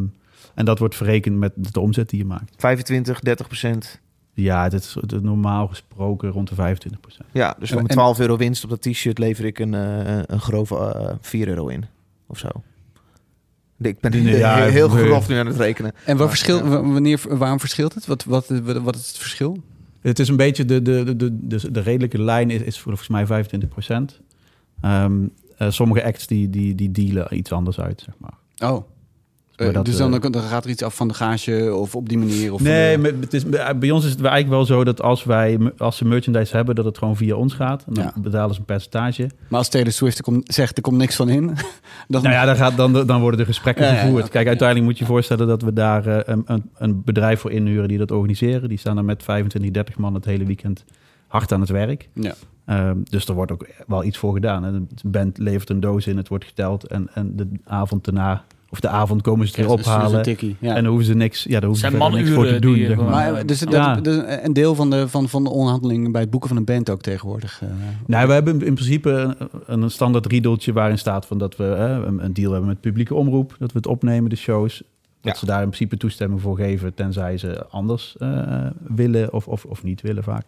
C: en dat wordt verrekend met de omzet die je maakt.
A: 25, 30 procent.
C: Ja, het is het is normaal gesproken rond de 25
A: Ja, dus voor
D: En-
A: mijn
D: en-
A: 12 euro winst op dat t-shirt lever ik een, eh, een grove eh, 4 euro in. Of zo. Ik ben
C: Nee, ja,
A: heel, heel
C: nee.
A: grof nu aan het rekenen.
D: En
A: Maar,
D: wat verschil,
A: ja.
D: wa- wanneer, waarom verschilt het? Wat, wat, wat, wat is het verschil?
C: Eh, Het is een beetje de, de, de, de, de, de redelijke lijn is, is volgens mij 25 procent. Ehm, eh, sommige acts die, die, die dealen iets anders uit, zeg maar.
D: Oh,
C: Maar
D: eh,
C: dat,
D: dus dan,
C: eh,
D: dan gaat er iets af van de gage of op die manier? Of
C: nee,
D: eh,
C: maar het is, bij ons is het eigenlijk wel zo dat als, wij, als ze merchandise hebben, dat het gewoon via ons gaat. En dan
D: Ja.
C: betalen ze een percentage.
D: maar als Taylor Swift er komt, zegt er komt niks van in, [LAUGHS] dan
C: Nou ja, dan, gaat, dan, dan worden de gesprekken
D: Ja, ja,
C: gevoerd.
D: oké,
C: Kijk,
D: ja.
C: uiteindelijk moet je je voorstellen dat we daar eh, een, een, een bedrijf voor inhuren die dat organiseren. Die staan dan met 25, 30 man het hele weekend hard aan het werk.
D: Ja.
C: Ehm, dus er wordt ook wel iets voor gedaan. Hè. De band levert een doos in, het wordt geteld. En, en de avond daarna, of de avond komen ze het weer
D: Dus dat is
C: ophalen.
D: een tikkie, ja.
C: En dan hoeven ze niks, ja, daar hoeven
B: Zijn
C: ze verder niks voor te
B: manuren
C: doen.
B: die,
C: Zeg
B: eh,
C: maar.
D: Maar, eh, dus dat,
C: Ja.
D: dus een deel van de, van, van de onderhandelingen bij het boeken van een band ook tegenwoordig. eh,
C: Nou, we hebben in principe een, een standaard riedeltje waarin staat van dat we hè, een een deal hebben met publieke omroep. Dat we het opnemen, de shows. Dat
A: Ja.
C: ze daar in principe toestemming voor geven, tenzij ze anders eh, willen of, of, of niet willen vaak.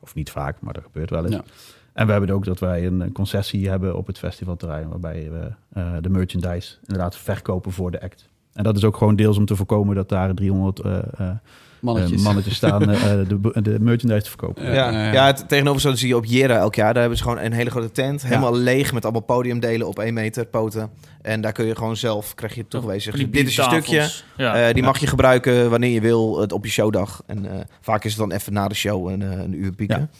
C: Of niet vaak, maar dat gebeurt wel eens.
D: Ja.
C: En we hebben ook dat wij een eh, concessie hebben op het festivalterrein, waarbij we eh, de merchandise inderdaad verkopen voor de act. En dat is ook gewoon deels om te voorkomen dat daar 300 eh, eh,
D: mannetjes.
C: mannetjes
D: [LAUGHS]
C: staan eh, eh, de, de merchandise te verkopen.
D: Ja,
A: Ja,
D: ja,
A: ja,
D: ja.
A: het- tegenover zo zie je op Jera elk jaar. Daar hebben ze gewoon een hele grote tent. Helemaal leeg met allemaal podiumdelen op één meter poten. En daar kun je gewoon zelf, krijg je toegewezen.
B: Van die
A: Dit is je
B: biertafels.
A: stukje.
B: Ja.
A: Eh, die mag je gebruiken wanneer je wil het op je showdag. En eh, vaak is het dan even na de show een, eh, een uur pieken.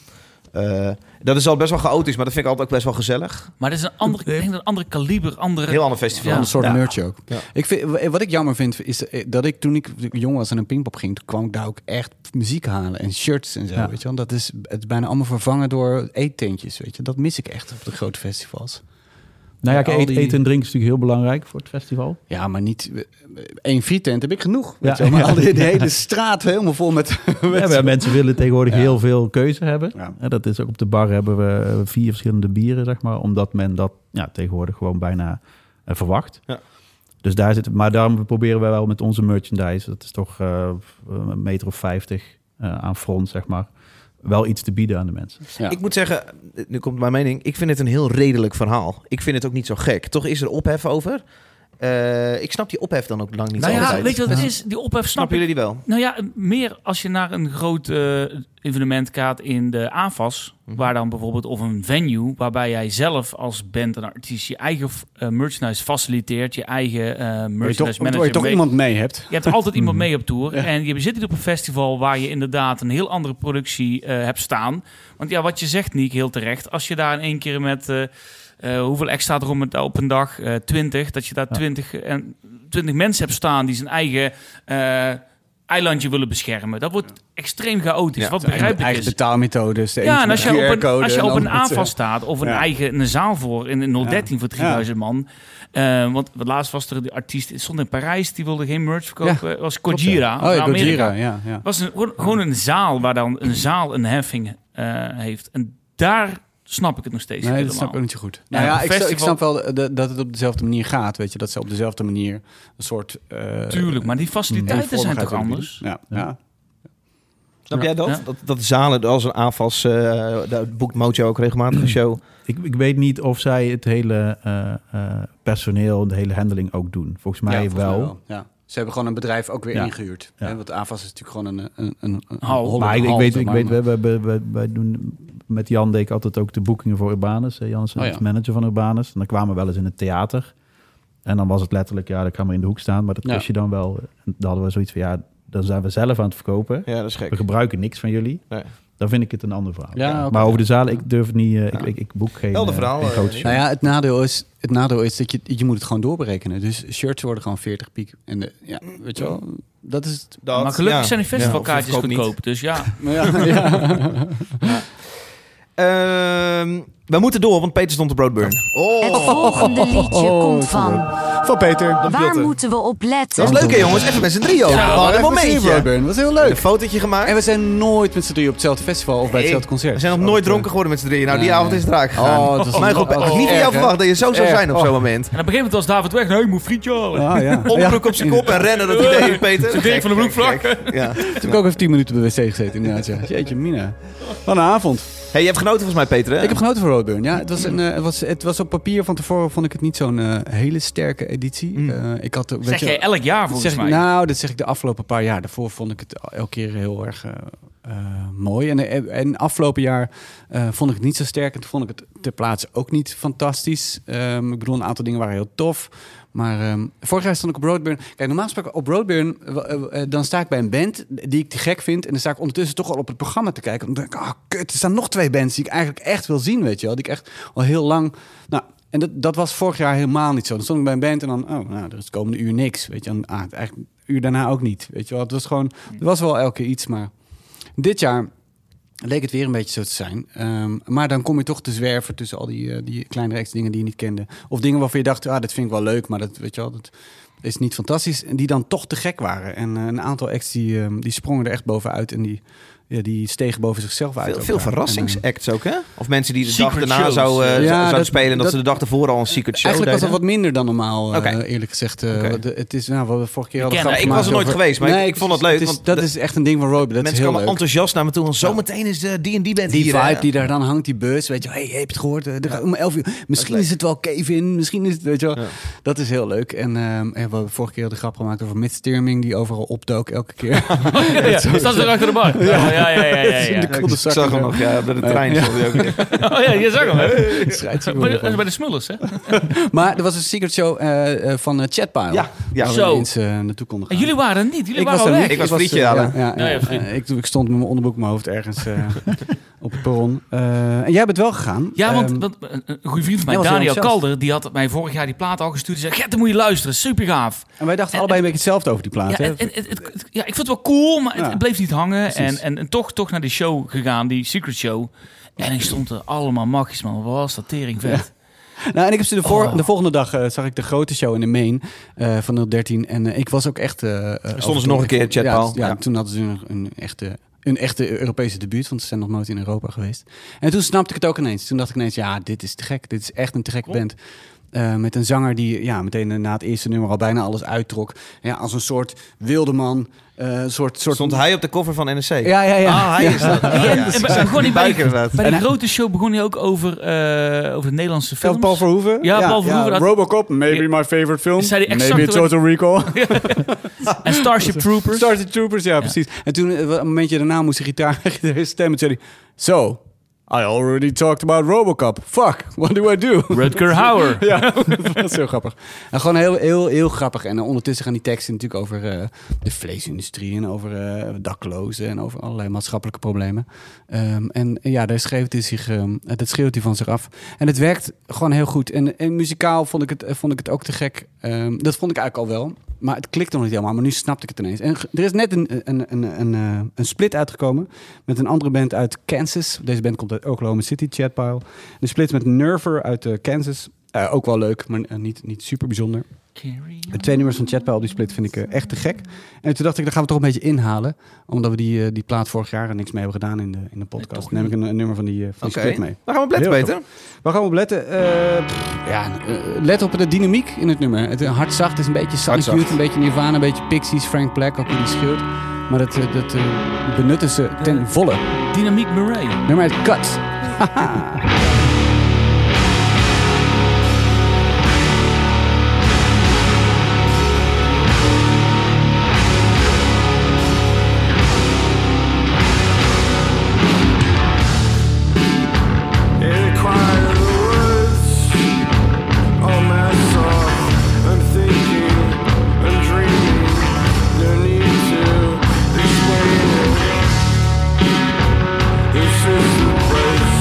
A: Eh, dat is al best wel chaotisch, maar dat vind ik altijd ook best wel gezellig.
B: maar dat is een ander, ik denk dat een ander kaliber, andere...
A: Heel ander festival.
D: Van een soort
C: Ja.
D: merch ook.
A: Ja.
D: Ik vind, wa- wat ik jammer vind, is eh, dat ik toen ik jong was en een pingpop ging, toen kwam ik daar ook echt muziek halen en shirts en zo.
C: Ja.
D: Weet je wel? Dat is, het is bijna allemaal vervangen door eettentjes. Weet je? Dat mis ik echt op de grote festivals.
C: Nou ja,
D: Al
C: kijk, eet-
D: die-
C: eten en drinken is natuurlijk heel belangrijk voor het festival.
D: Ja, maar niet eh, één frietent heb ik genoeg. Weet
C: Ja.
D: je wel?
C: [LAUGHS]
D: Maar
C: Ja.
D: al die, de hele straat helemaal vol met.
C: Ja,
D: met-
C: maar mensen willen tegenwoordig
D: Ja.
C: heel veel keuze hebben.
D: Ja.
C: Ja, dat is ook op de bar hebben we vier verschillende bieren, zeg maar. Omdat men dat ja, tegenwoordig gewoon bijna eh, verwacht.
A: Ja.
C: Dus daar zit, maar daarom proberen wij wel met onze merchandise, dat is toch eh, een meter of vijftig eh, aan front, zeg maar, wel iets te bieden aan de mensen.
D: Ja.
A: Ik moet zeggen, eh, nu komt mijn mening. Ik vind het een heel redelijk verhaal. Ik vind het ook niet zo gek. Toch is er ophef over. Eh, ik snap die ophef dan ook lang niet
B: nou ja,
A: altijd.
B: weet je wat het is? Die ophef snap
A: Snappen
B: ik.
A: jullie die wel?
B: Nou ja, meer als je naar een groot eh, evenement gaat in de AFAS,
D: Mhm.
B: waar dan bijvoorbeeld, of een venue, waarbij jij zelf als band en artiest je eigen eh, merchandise faciliteert, je eigen eh
D: Waar je
B: merchandise
D: toch,
B: manager
D: waar je toch
B: mee-
D: iemand mee hebt.
B: Je hebt altijd iemand mee op tour. En je zit niet op een festival waar je inderdaad een heel andere productie eh, hebt staan. Want ja, wat je zegt, Niek, heel terecht. Als je daar in één keer met... eh, eh, hoeveel extra er om het- op een dag? Eh, Twintig. dat je daar
C: Ja.
B: twintig en twintig mensen hebt staan die zijn eigen eh, eilandje willen beschermen. Dat wordt extreem chaotisch.
A: Ja,
B: wat begrijp ik
D: Eigen
B: is.
D: betaalmethodes. de E
B: Ja,
D: een
B: en als je
D: met
B: op een,
D: QR-code
B: als je
D: en
B: op
D: dan
B: een
D: met, eh,
B: aanval staat of een
D: Ja.
B: eigen een zaal voor in in 013
D: Ja.
B: voor 3000 man. Eh, want laatst was er die artiest, het stond in Parijs, die wilde geen merch verkopen. Het was Kojira.
D: Oh
B: uit
D: ja,
B: Amerika.
D: Gojira, ja. ja.
B: Het was een, gewoon- gewoon een zaal waar dan een zaal een heffing eh, heeft. En daar snap ik het nog steeds
D: Nee,
B: niet
D: dat snap ik ook
B: helemaal.
D: niet zo goed. Nou
B: Ja,
D: ja,
B: een
D: ik, snap- ik
B: festival-
D: snap wel eh, dat dat het op dezelfde manier gaat, weet je. Dat ze op dezelfde manier een soort... eh,
B: Tuurlijk, maar die faciliteiten zijn
D: uniformigheid
B: toch
D: willen
B: anders?
D: bieden. Ja, ja.
A: Snap jij dat?
B: Ja.
A: dat? Dat zalen als een aanvals, eh daar boekt Mojo ook regelmatig een show.
C: Ik, ik weet niet of zij het hele eh, eh, personeel, de hele handling ook doen. Volgens mij
D: Ja, volgens mij
C: wel.
D: Ja. Ze hebben gewoon een bedrijf ook weer
C: Ja.
D: ingehuurd.
C: Ja.
D: hè, Want AFAS is natuurlijk gewoon een... een, een, een
B: Hal.
D: Holland
C: Maar ik, ik
D: hal,
C: weet,
D: zeg
C: ik
D: maar.
C: weet we, we, we, we- wij doen met Jan deed ik altijd ook de boekingen voor Urbanus. Eh, Jan is
D: Oh ja.
C: het manager van Urbanus. En dan kwamen we wel eens in het theater. En dan was het letterlijk, ja, dan kan maar in de hoek staan. Maar dat
D: Ja.
C: kost je dan wel. En dan hadden we zoiets van, ja, dan zijn we zelf aan het verkopen.
A: Ja, dat is
C: We
A: gek.
C: gebruiken niks van jullie.
A: Nee.
C: Dan vind ik het een ander verhaal.
D: Ja, oké.
C: Maar over de zalen, ik durf het niet, eh, ik,
A: Ja.
C: ik, ik boek geen,
A: Helder
C: eh,
A: verhaal,
C: geen
A: eh,
C: grote
A: Nick.
D: Nou ja, het nadeel is, het nadeel is dat je, je moet het gewoon doorberekenen. Dus shirts worden gewoon 40 piek. En de, ja, weet je wel, dat is het.
A: Dat,
B: maar gelukkig
A: ja.
B: zijn die
A: Ja,
B: festivalkaartjes
A: of je verkoopt
B: goedkoop. Dus ja,
D: Ja, ja.
A: niet. Ehm, we moeten door, want Peter stond op Roadburn.
E: Het volgende liedje komt van.
D: Van Peter.
E: Waar
A: Pjotter.
E: moeten we op
A: Dat is
E: letten?
A: leuk, hè, jongens. Even met z'n drieën. ook.
D: Ja,
A: Gewoon
D: wat
A: een
D: een
A: momentje.
D: momentje. Dat was heel
A: Een
D: leuk.
A: fotootje gemaakt.
D: En we zijn nooit met z'n drieën op hetzelfde festival of bij
A: Nee,
D: hetzelfde concert. Oh,
A: We zijn nog nooit dronken geworden met z'n drieën. Nou, die
D: Nee.
A: avond is het raak gegaan.
D: Oh, dat is-
A: Mijn god,
D: dat is
A: had ik niet van
D: erg,
A: jou
D: hè?
A: verwacht dat je zo zou
D: Erg.
A: zijn op zo'n moment.
B: en op een gegeven moment was David weg. Nee, ik moet frietje halen.
D: Ah, ja.
A: [LAUGHS] Onderbroek op zijn kop en rennen, [LAUGHS] dat idee, Peter.
B: Zo'n Dirk van de Broek vlak.
A: Gek. Ja.
D: Toen heb ik ook even 10 minuten op de wc gezeten inderdaad. Ja. Jeetje mina. Wat een avond.
A: Hey, je hebt genoten volgens mij, Peter, hè?
D: Ik heb genoten van Roadburn. Ja, het, was een, eh, het, was, het was op papier van tevoren vond ik het niet zo'n eh, hele sterke editie.
A: Mm.
D: Eh, ik had, ook- weet
B: [LAUGHS] Zeg
D: je-
B: jij elk jaar
D: Dat
B: volgens
D: zeg
B: mij.
D: ik, nou, dat zeg ik de afgelopen paar jaar. Daarvoor vond ik het elke keer heel erg eh, eh, mooi. En, en afgelopen jaar eh, vond ik het niet zo sterk. En toen vond ik het ter plaatse ook niet fantastisch. Ehm, ik bedoel, een aantal dingen waren heel tof. Maar ehm, vorig jaar stond ik op Roadburn. Kijk, normaal gesproken op Roadburn... eh, eh, eh, dan sta ik bij een band die ik te gek vind. En dan sta ik ondertussen toch al op het programma te kijken. Dan denk ik, ah, kut, er staan nog twee bands die ik eigenlijk echt wil zien, weet je wel. Die ik echt al heel lang... Nou, en dat, dat was vorig jaar helemaal niet zo. Dan stond ik bij een band en dan, oh, nou, er is het komende uur niks. Weet je, en, ah, eigenlijk een uur daarna ook niet. Weet je wel, het was gewoon, er was wel elke keer iets, maar dit jaar leek het weer een beetje zo te zijn. Ehm, maar dan kom je toch te zwerven tussen al die, eh, die kleine reeks dingen die je niet kende. Of dingen waarvan je dacht, ah, dat vind ik wel leuk, maar dat, weet je wel, dat is niet fantastisch. En die dan toch te gek waren. En eh, een aantal acts die, ehm, die sprongen er echt bovenuit en die, ja, die stegen boven zichzelf uit.
A: Veel,
D: ook
A: veel
D: daar. En, eh,
A: verrassingsacts ook, hè? Of mensen die de
B: Secret
A: dag daarna
B: shows.
A: zou, eh,
D: Ja,
A: zou- zouden
D: dat-
A: spelen... dat,
D: dat-
A: ze de dag ervoor al een secret show
D: Eigenlijk was dat
A: deden.
D: wat minder dan normaal, eh,
A: Oké.
D: eerlijk gezegd. Eh,
A: Oké.
D: de- het is, nou, wat we vorige keer hadden
B: ken
D: grap
B: het. Ik
A: was er
D: gemaakt
A: nooit geweest, maar ik vond het leuk,
D: is-
A: want
D: dat
A: de-
D: is echt een ding van Roadburn. Dat is
A: Mensen
D: heel
A: kwamen
D: leuk.
A: enthousiast naar me toe. En zometeen is de D&D band
D: Die
A: hier.
D: vibe
A: hè?
D: die daar dan hangt, die bus, weet je, hey, heb je het gehoord? Eh, er gaat om 11 uur. Misschien
A: leuk.
D: is het wel Kevin, misschien is het, weet je wel.
A: Ja.
D: Dat is heel leuk. En ehm, en we hebben vorige keer de grap gemaakt over Midsterming, die overal opdook elke keer.
B: [LAUGHS]
A: [LAUGHS]
D: [LAUGHS]
B: ja, ja. Staat ze achter de bar? Ja, ja, ja. ja, ja, ja.
A: Ja, ik, ik zag hem nog, ja, bij de trein stond hij ook weer.
B: Oh ja, je zag hem. hè?
D: Schrijft hij
B: Bij
D: wel
B: de,
D: van.
B: bij de smullers, hè?
D: Maar er was een secret show eh, eh, van eh, Chatpile.
A: Ja, ja.
D: Waar we
B: Zo.
D: eens eh, naartoe konden
B: En
D: gaan.
B: jullie waren er niet. Jullie
D: Ik
B: waren
D: was
B: al
D: daar
B: weg.
D: niet.
A: Ik was
D: eh,
A: frietje halen.
D: Ja, ja,
B: Ja, ja,
D: ja.
B: friet.
D: Eh, ik, ik stond met mijn onderbroek op mijn hoofd
B: [LAUGHS]
D: ergens eh, op het perron. Eh, en jij bent wel gegaan.
B: Ja, want,
D: Ehm,
B: want eh, een, een goede vriend van mij,
D: jij was heel
B: Daniel
D: enthousiast.
B: Kalder, die had mij vorig jaar die plaat al gestuurd. Die zei, Gert, dan moet je luisteren. Super gaaf.
D: en wij dachten
B: en-
D: allebei een beetje hetzelfde over die plaat.
B: Eh, Ja, eh,
D: hè?
B: en, en- het- het- het- ja, ik vond het wel cool, maar het,
D: Ja.
B: het bleef niet hangen. En,
D: Precies.
B: en, en toch, toch naar die show gegaan, die Secret Show. En ik stond er allemaal magjes, man. Wat was dat tering vet.
D: Nou, en ik heb ze de, voor-
B: Oh.
D: de volgende dag eh, zag ik de grote show in de Main eh, van 013. En eh, ik was ook echt. eh, eh,
A: ze
D: overtuigd.
A: nog een keer, Chatpaal.
D: Ja, t- ja,
A: Ja.
D: toen hadden ze een, een echte. Een echte Europese debuut, want ze zijn nog nooit in Europa geweest. En toen snapte ik het ook ineens. Toen dacht ik ineens, ja, dit is te gek. Dit is echt een te gek band. Eh, met een zanger die ja, meteen eh, na het eerste nummer al bijna alles uittrok. Ja, als een soort wilde man. eh, soort, soort...
A: Stond hij op de cover van NRC?
D: Ja, ja, ja.
A: Ah, hij is dat.
B: En,
A: Ja, ja.
B: en bij- en gewoon die bij,
A: Buik inderdaad.
B: bij
D: En
B: die
D: hij-
B: grote show begon hij ook over, eh, over de Nederlandse films.
D: Paul Verhoeven?
B: Ja, Paul Verhoeven, dat-
D: Robocop, maybe my favorite film.
B: Zei die exact
D: Maybe
B: wat-
D: Total Recall.
B: en
D: [LAUGHS]
B: Starship Troopers.
D: Started Troopers, ja, precies. En toen, eh, een momentje daarna, moest de gitaar [LAUGHS] de stem en zei hij... So, I already talked about Robocop. Fuck, what do I do?
B: Rutger Hauer.
D: ja, [LAUGHS] dat was heel grappig. En gewoon heel, heel, heel grappig. En eh, ondertussen gaan die teksten natuurlijk over eh, de vleesindustrie... en over eh, daklozen en over allerlei maatschappelijke problemen. Ehm, en eh, ja, daar schreef hij zich, ehm, eh, dat schreeuwt hij van zich af. En het werkt gewoon heel goed. En, en muzikaal vond ik, het, eh, vond ik het ook te gek. Ehm, dat vond ik eigenlijk al wel. Maar het klikte nog niet helemaal. Maar nu snapte ik het ineens. En ge- er is net een, een, een, een, eh, een split uitgekomen. Met een andere band uit Kansas. Deze band komt uit Oklahoma City, Chatpile. De split met Nerver uit eh, Kansas. Eh, ook wel leuk, maar eh, niet, niet super bijzonder. De twee nummers van Chatpile op die split vind ik eh, echt te gek. En toen dacht ik, daar gaan we toch een beetje inhalen. Omdat we die, eh, die plaat vorig jaar er niks mee hebben gedaan in de, in de podcast. Dan neem ik een, een nummer van die, eh, van die
A: Oké,
D: split mee.
A: daar gaan we op letten,
D: Heel
A: Peter.
D: Waar gaan we op letten? Eh, pff, ja, eh, let op de dynamiek in het nummer. Het eh, hardzacht is een beetje Sonic
A: Hardzacht.
D: Youth, een beetje Nirvana, een beetje Pixies, Frank Black, ook hoe die scheelt. Maar dat, eh, dat eh, benutten ze ten volle.
B: Dynamiek Murray.
D: Nummer uit Cut.
H: This is the place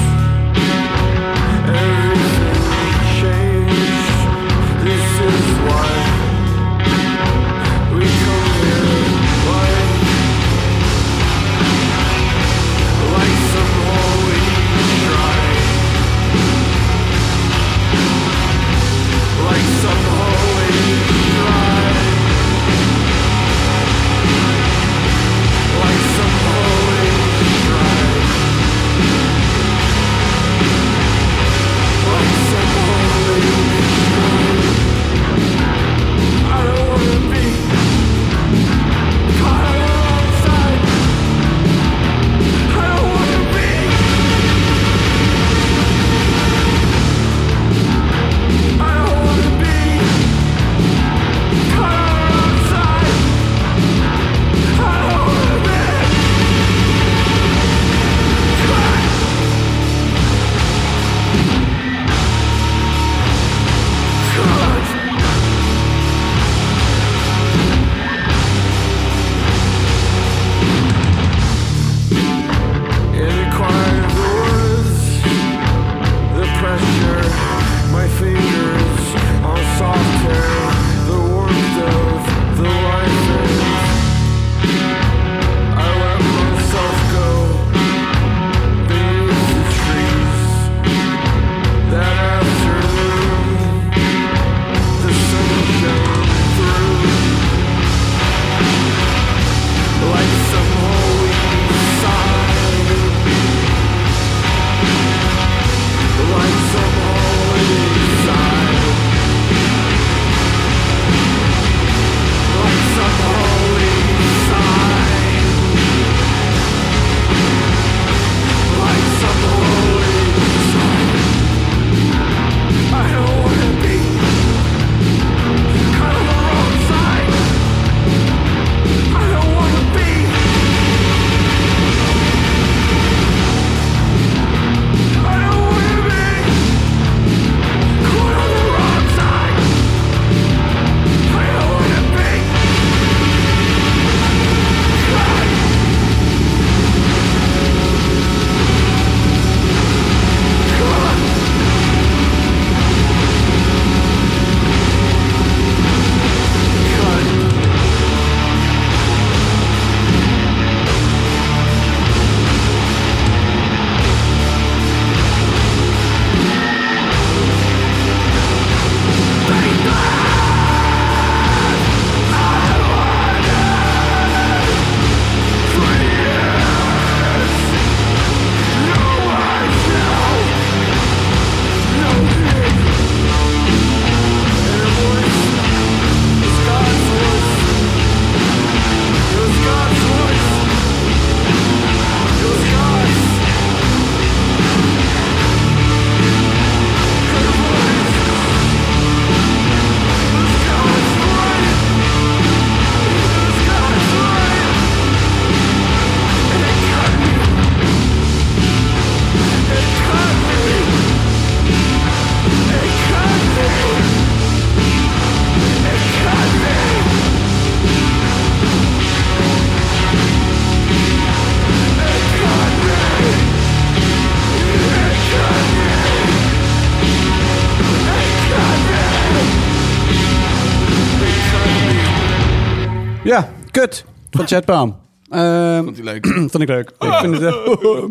D: Ja, kut. Van Chad Palm. Ehm,
A: Vond hij leuk.
D: [CLEARS THROAT] vond ik leuk. Ik, vind het, eh,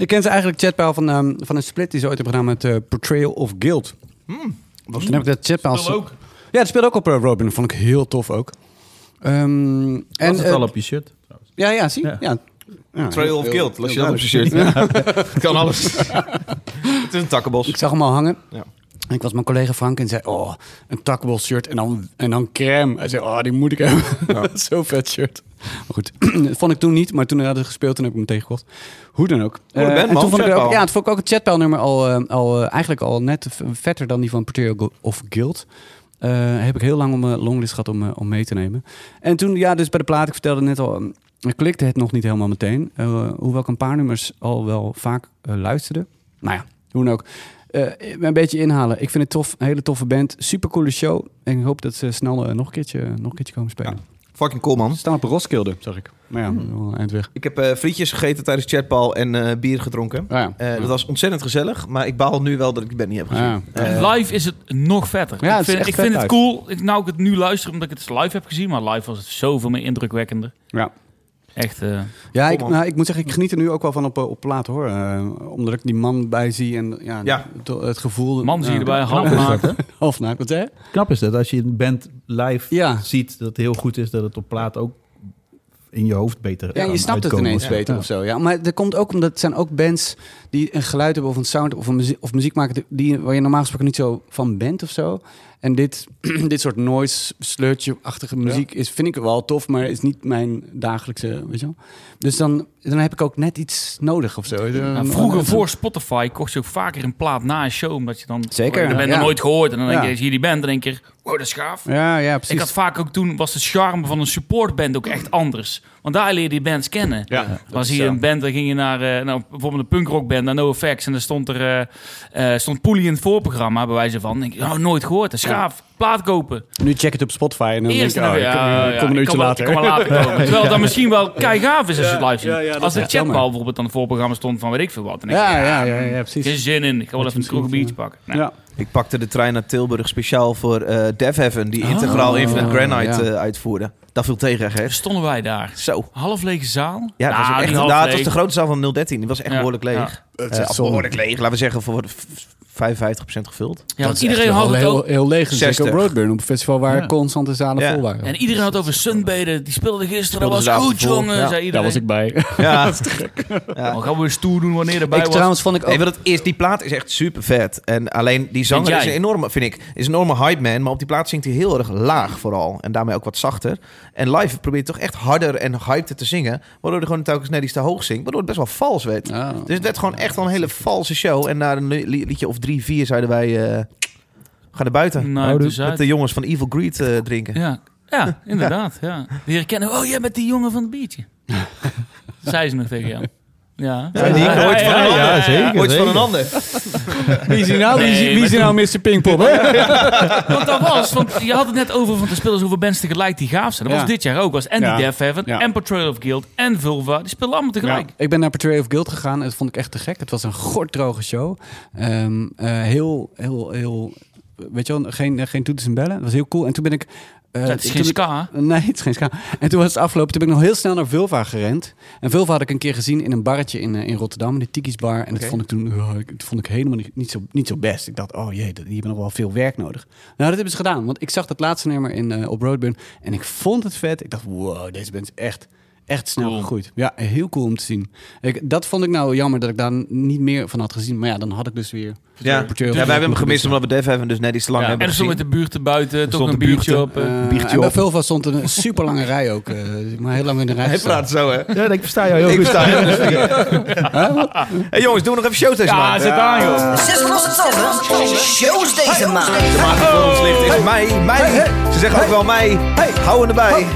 D: [LAUGHS] ik ken ze eigenlijk Chad Palm van, ehm, van een split die ze ooit hebben gedaan met eh, Portrayal of Guild.
A: Hmm, was
D: Toen heb ik dat Chad Palm...
B: Wil ook.
D: Ja, dat speelde ook op eh, Robin. Vond ik heel tof ook. Ehm, en,
C: En, het
D: eh,
C: al op je shirt?
D: ja, ja, zie.
C: Ja.
D: Ja. Ja.
A: Trail of Guild, las je dat op zijn shirt. [LAUGHS] kan alles. het is een takkenbos.
D: Ik zag hem al hangen.
A: Ja.
D: En ik was mijn collega Frank en zei, oh, een takbal shirt en dan, en dan crème. Hij zei, oh, die moet ik hebben. [LAUGHS] Zo vet shirt. Maar goed, [CLEARS THROAT] dat vond ik toen niet, maar toen hij had gespeeld, toen heb ik hem tegengekocht. Hoe dan ook.
A: Goede
D: Eh,
A: band,
D: en
A: man.
D: toen vond ik
A: Chatpal.
D: ook, ja, toen vond ik ook het chatpal nummer al, eh, al eh, eigenlijk al net v- vetter dan die van Portero of Guild. Eh, heb ik heel lang om mijn longlist gehad om, eh, om mee te nemen. En toen, ja, dus bij de plaat, ik vertelde net al, eh, ik klikte het nog niet helemaal meteen. Eh, hoewel ik een paar nummers al wel vaak eh, luisterde. Nou ja, hoe dan ook. Eh, een beetje inhalen. Ik vind het tof, een hele toffe band. Super coole show. En ik hoop dat ze snel eh, nog, een keertje, nog een keertje komen spelen. Hmm.
A: Fucking cool, man.
D: Ze staan op Roskilde, zag ik. Maar ja, wel eind weg.
A: Ik heb eh, frietjes gegeten tijdens chatbal en eh, bier gedronken.
D: Ah, ja.
A: Eh, Dat was ontzettend gezellig, maar ik baal nu wel dat ik de band niet heb gezien.
D: Ja.
A: Eh,
B: En live is het nog vetter.
D: Ja,
B: ik
D: het is
B: vind,
D: echt
B: ik
D: vet
B: vind het
D: live.
B: cool. Ik, nou, ik het nu luister omdat ik het live heb gezien. Maar live was het zoveel meer indrukwekkender.
D: Ja.
B: Echt. eh,
D: Ja,
A: Kom
D: ik,
A: op.
D: nou, ik moet zeggen, ik geniet er nu ook wel van op, eh, op plaat hoor. Eh, omdat ik die man bij zie en ja,
A: Ja.
D: Het, het gevoel.
B: man zie je
D: ja.
B: erbij. Half
C: Knap is
B: naakt.
D: [LAUGHS]
C: dat, hè?
D: Half naakt, nou, wat zei je?
C: Knap is dat als je een band live
D: Ja.
C: ziet, dat het heel goed is dat het op plaat ook in je hoofd beter
D: Ja, je
C: kan
D: snapt het
C: uitkomen.
D: ineens
C: Ja.
D: beter
C: Ja.
D: of zo. Ja. Maar dat komt ook omdat het zijn ook bands die een geluid hebben of een sound of, een muziek, of muziek maken die, waar je normaal gesproken niet zo van bent of zo. En dit, [CLEARS THROAT] dit soort noise, sleurtje-achtige muziek is, vind ik wel tof, maar is niet mijn dagelijkse, weet je wel. Dus dan, dan heb ik ook net iets nodig of zo.
B: Nou, vroeger voor Spotify kocht je ook vaker een plaat na een show. Omdat je dan. Oh,
D: Zeker,
B: Je bent
D: ja.
B: er nooit gehoord. En dan denk je,
D: Ja.
B: als je hier die band. Dan denk je, wow, dat is gaaf.
D: Ja, ja, precies.
B: Ik had vaak ook toen was de charme van een supportband ook echt anders. Want daar leer je die bands kennen.
D: ja,
B: Dan zie je een band, dan ging je naar eh, nou, bijvoorbeeld een punkrockband, naar No Effects. En dan stond er eh, eh, stond Poelie in het voorprogramma, bij wijze van. Dan denk ik, oh, nooit gehoord. Dat is gaaf. Plaat kopen.
D: Nu check het op Spotify en dan
B: Eerst nou,
D: denk ik,
B: naar
D: oh, ik kom- ik kom een uurtje later.
B: Kom maar later komen. Terwijl dat misschien wel keigaaf is als je het live ziet.
D: ja, ja, dat
B: als de
D: is
B: chatbal
D: jammer.
B: bijvoorbeeld aan het voorprogramma stond van weet ik veel wat. Dan denk ik,
D: [LAUGHS] Ja, ja, ja, ja,
B: ik heb
D: precies.
B: zin in. Ik ga wel
D: Dat
B: even
D: je
B: een kroeg een
D: misschien,
B: biertje pakken. Nou,
D: Ja.
A: Ik pakte de trein naar Tilburg speciaal voor eh Dev Heaven, die
B: Oh,
A: integraal Infinite Granite
D: ja.
A: eh, uitvoerde. Dat viel tegen, hè?
B: daar stonden wij daar.
A: Zo.
B: Half lege zaal.
A: Ja, dat was,
B: Nou,
A: ook
B: niet
A: echt,
B: half
A: nou, het was
B: leeg.
A: de grote zaal van 013. Die was echt
B: Ja,
A: behoorlijk leeg.
B: ja.
A: Eh,
D: is echt
A: of
D: zonde.
A: behoorlijk leeg. Laten we zeggen voor v- 55%
D: [LAUGHS]
A: gevuld.
B: Ja, want iedereen had het
D: heel,
B: ook.
D: heel leeg. Zeker
A: 60.
D: op Roadburn, op een festival waar
C: Ja.
D: constant de zalen
A: Ja.
D: vol waren.
B: En iedereen had het over sunbeden. Die speelden gisteren.
A: Speelden
B: Dat
A: ze de
B: was
A: avond
B: goed,
A: voor.
B: jongen,
A: Ja,
B: zei
D: Daar
B: iedereen.
D: was ik bij.
A: Ja.
B: Ja. Dan gaan we weer stoer doen wanneer erbij
D: Ik
B: was.
D: trouwens vond ik ook...
A: Nee, want het is, die plaat is echt super vet. En alleen die zanger
B: Vind
A: is
B: jij?
A: een enorme, vind ik, is een enorme hype man. Maar op die plaat zingt hij heel erg laag vooral. En daarmee ook wat zachter. En live probeert hij toch echt harder en hypter te zingen. Waardoor hij gewoon telkens net iets te hoog zingt. Waardoor het best wel vals werd.
D: Ah.
A: Dus het werd gewoon echt wel een hele valse show. En na een li- li- liedje of drie, vier zeiden wij... eh, ga naar buiten.
B: Nou,
C: Oude-
B: dus
A: Met
B: uit.
A: de jongens van Evil Greed eh, drinken.
B: Ja,
D: [LAUGHS]
B: ja inderdaad. Ja. Die herkennen, oh, jij bent die jongen van het biertje. Zei ze nog tegen jou. Ja,
A: Ja, die hoort van een ander.
C: ja, zeker,
A: Hoort van een
C: zeker.
A: ander.
D: Wie is hier nou, wie is hier-
B: Nee,
D: wie is hier nou Mr. Pinkpop? hè?
B: Want dat was, want je had het net over van de spelers hoeveel bands tegelijk die gaaf zijn. Dat
D: Ja.
B: was dit jaar ook. Was en
D: Ja.
B: die Death Heaven,
D: Ja.
B: en Portrayal of Guild, en Vulva. Die spelen allemaal
D: Ja,
B: tegelijk.
D: ik ben naar Portray of Guild gegaan en dat vond ik echt te gek. Het was een gortdroge show. Ehm, eh, heel, heel, heel... Weet je wel, geen, geen toeters en bellen. Het was heel cool. En toen ben ik... eh,
B: Dus het is
D: toen
B: geen
D: ik-
B: ska.
D: [LAUGHS] Nee, het is geen schaam. En toen was het afgelopen. Toen ben ik nog heel snel naar Vulva gerend. En Vulva had ik een keer gezien in een barretje in, eh, in Rotterdam. Die Tiki's Bar. En
A: Oké.
D: dat vond ik toen oh, ik- dat vond ik helemaal niet, niet zo, niet zo best. Ik dacht, oh jee, dat- die hebben nog wel veel werk nodig. Nou, dat hebben ze gedaan. Want ik zag dat laatste nummer in, eh, op Roadburn. En ik vond het vet. Ik dacht, wow, deze band is echt... Echt snel
B: Cool.
D: gegroeid. Ja, heel cool om te zien. Ik, dat vond ik nou jammer dat ik daar niet meer van had gezien. Maar ja, dan had ik dus weer.
A: Ja, ja wij hebben hem gemist omdat we Def hebben dus net iets te lang
B: Ja. En
A: hebben
B: er stond met
A: gezien.
B: de buurt te buiten, toch
A: stond
B: een
A: de
B: biertje
A: buurt
B: op. eh.
D: Eh, en bij Vulva stond een super lange rij ook. eh, maar heel lang in de rij.
A: Hij
D: gestaan.
A: praat zo, hè?
C: Ja, ik versta jou heel goed.
A: sta hier. hey, jongens, doen we nog even showtest,
B: ja,
A: maken.
B: zit aan, joh.
I: Zes van onze tanden. Shows deze maand.
A: De maand die voor ons ligt is mei. Mei. Ze zeggen ook wel mei. Hou hem erbij.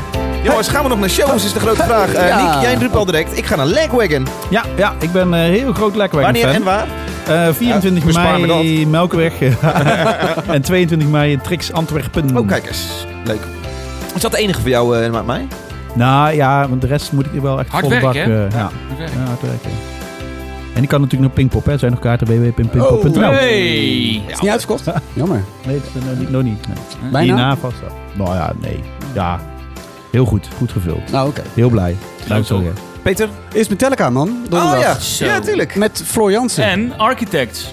A: Jongens, gaan we nog naar shows, is de grote vraag. Eh,
D: Ja.
A: Nick, jij drupt al direct. Ik ga naar Lagwagon.
C: Ja, ja, ik ben eh, heel groot lekkerwijn
A: Wanneer
C: fan.
A: en waar? Oh,
C: Eh, 24
A: Ja, bespaar me [LAUGHS]
C: mei Melkweg [LAUGHS] en 22 mei in Trix Antwerpen.
A: Oh, kijk eens. Leuk. Is dat de enige voor jou, eh maat mij?
C: Nou ja, want de rest moet ik hier wel echt
B: Hard
C: volle bak...
B: werken, hè?
C: eh, ja.
B: Goed werk.
C: Ja, hard werken. En die kan natuurlijk nog Pinkpop, hè. Er zijn nog kaarten www.pinkpop.nl.
A: Oh,
B: Hey.
D: Is niet uitverkocht? Jammer.
C: Nee, dat is nog eh, niet. Nog niet nee.
D: Bijna.
C: Hierna vast wel. Nou ja, nee. Ja. Heel goed, goed gevuld.
D: Nou, oké.
C: Heel blij. Dank je wel.
A: Peter?
D: Eerst Metallica, man.
A: Oh ja,
D: Donderdag.
B: Zo.
A: ja tuurlijk.
D: Met Floor Jansen.
B: En Architects.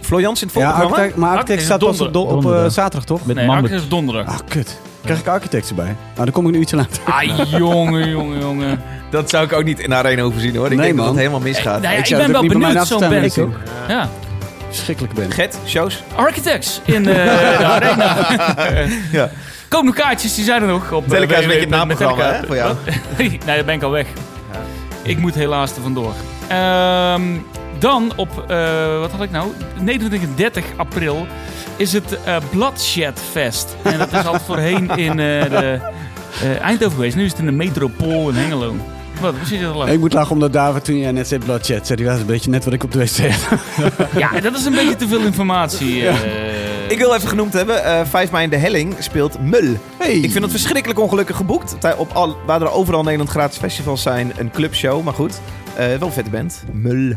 A: Flo Jans in het
D: ja,
A: voorprogramma?
D: Architect, maar Architect
B: Architect
D: staat pas
B: is
D: op, do- op eh,
C: donderdag.
D: zaterdag, toch?
C: Met
B: Nee,
C: Mammoth.
B: Architects is donderdag.
D: [LAUGHS] Ah, kut. Krijg ik Architects erbij? Nou, dan kom ik nu ietsje later.
B: Ah, jongen, jongen, jongen.
A: Dat zou ik ook niet in de arena hoeven zien hoor. Ik
D: Nee,
A: denk dat
D: man.
A: het helemaal misgaat.
B: Nou ja, ik,
D: zou
B: ben
D: het ook
B: wel
D: niet bij mij
B: benieuwd, zo'n
D: afstaan,
B: band.
D: weet ik
B: Ja.
D: Schrikkelijk ben.
A: Gert, shows.
B: Architects
A: [LAUGHS]
B: in eh, de arena.
A: Ja.
B: Koop nog kaartjes, die zijn er nog. Op, eh,
A: Metallica is een beetje het naamprogramma, hè,
B: naamprogramma
A: voor jou.
B: [LAUGHS] nee, daar ben ik al weg. Ik moet helaas er vandoor. Ehm, dan op, eh, wat had ik nou? 29 en 30 april is het eh Bloodshed Fest. En dat
A: [LAUGHS]
B: is al voorheen in eh, de, eh, Eindhoven geweest. Nu is het in de metropool in Hengelo. Wat, misschien is dat leuk.
D: Ik moet lachen omdat David toen jij net zei bloodshed, zei die was een beetje net wat ik op de wc had.
B: Ja, dat is een beetje te veel informatie. eh.
A: Ik wil even genoemd hebben, eh 5 mei in de Helling speelt Mul.
D: Hey.
A: Ik vind dat verschrikkelijk ongelukkig geboekt. Dat hij Op al, waar er overal in Nederland gratis festivals zijn, een clubshow. Maar goed, eh, wel een vette band. Mul.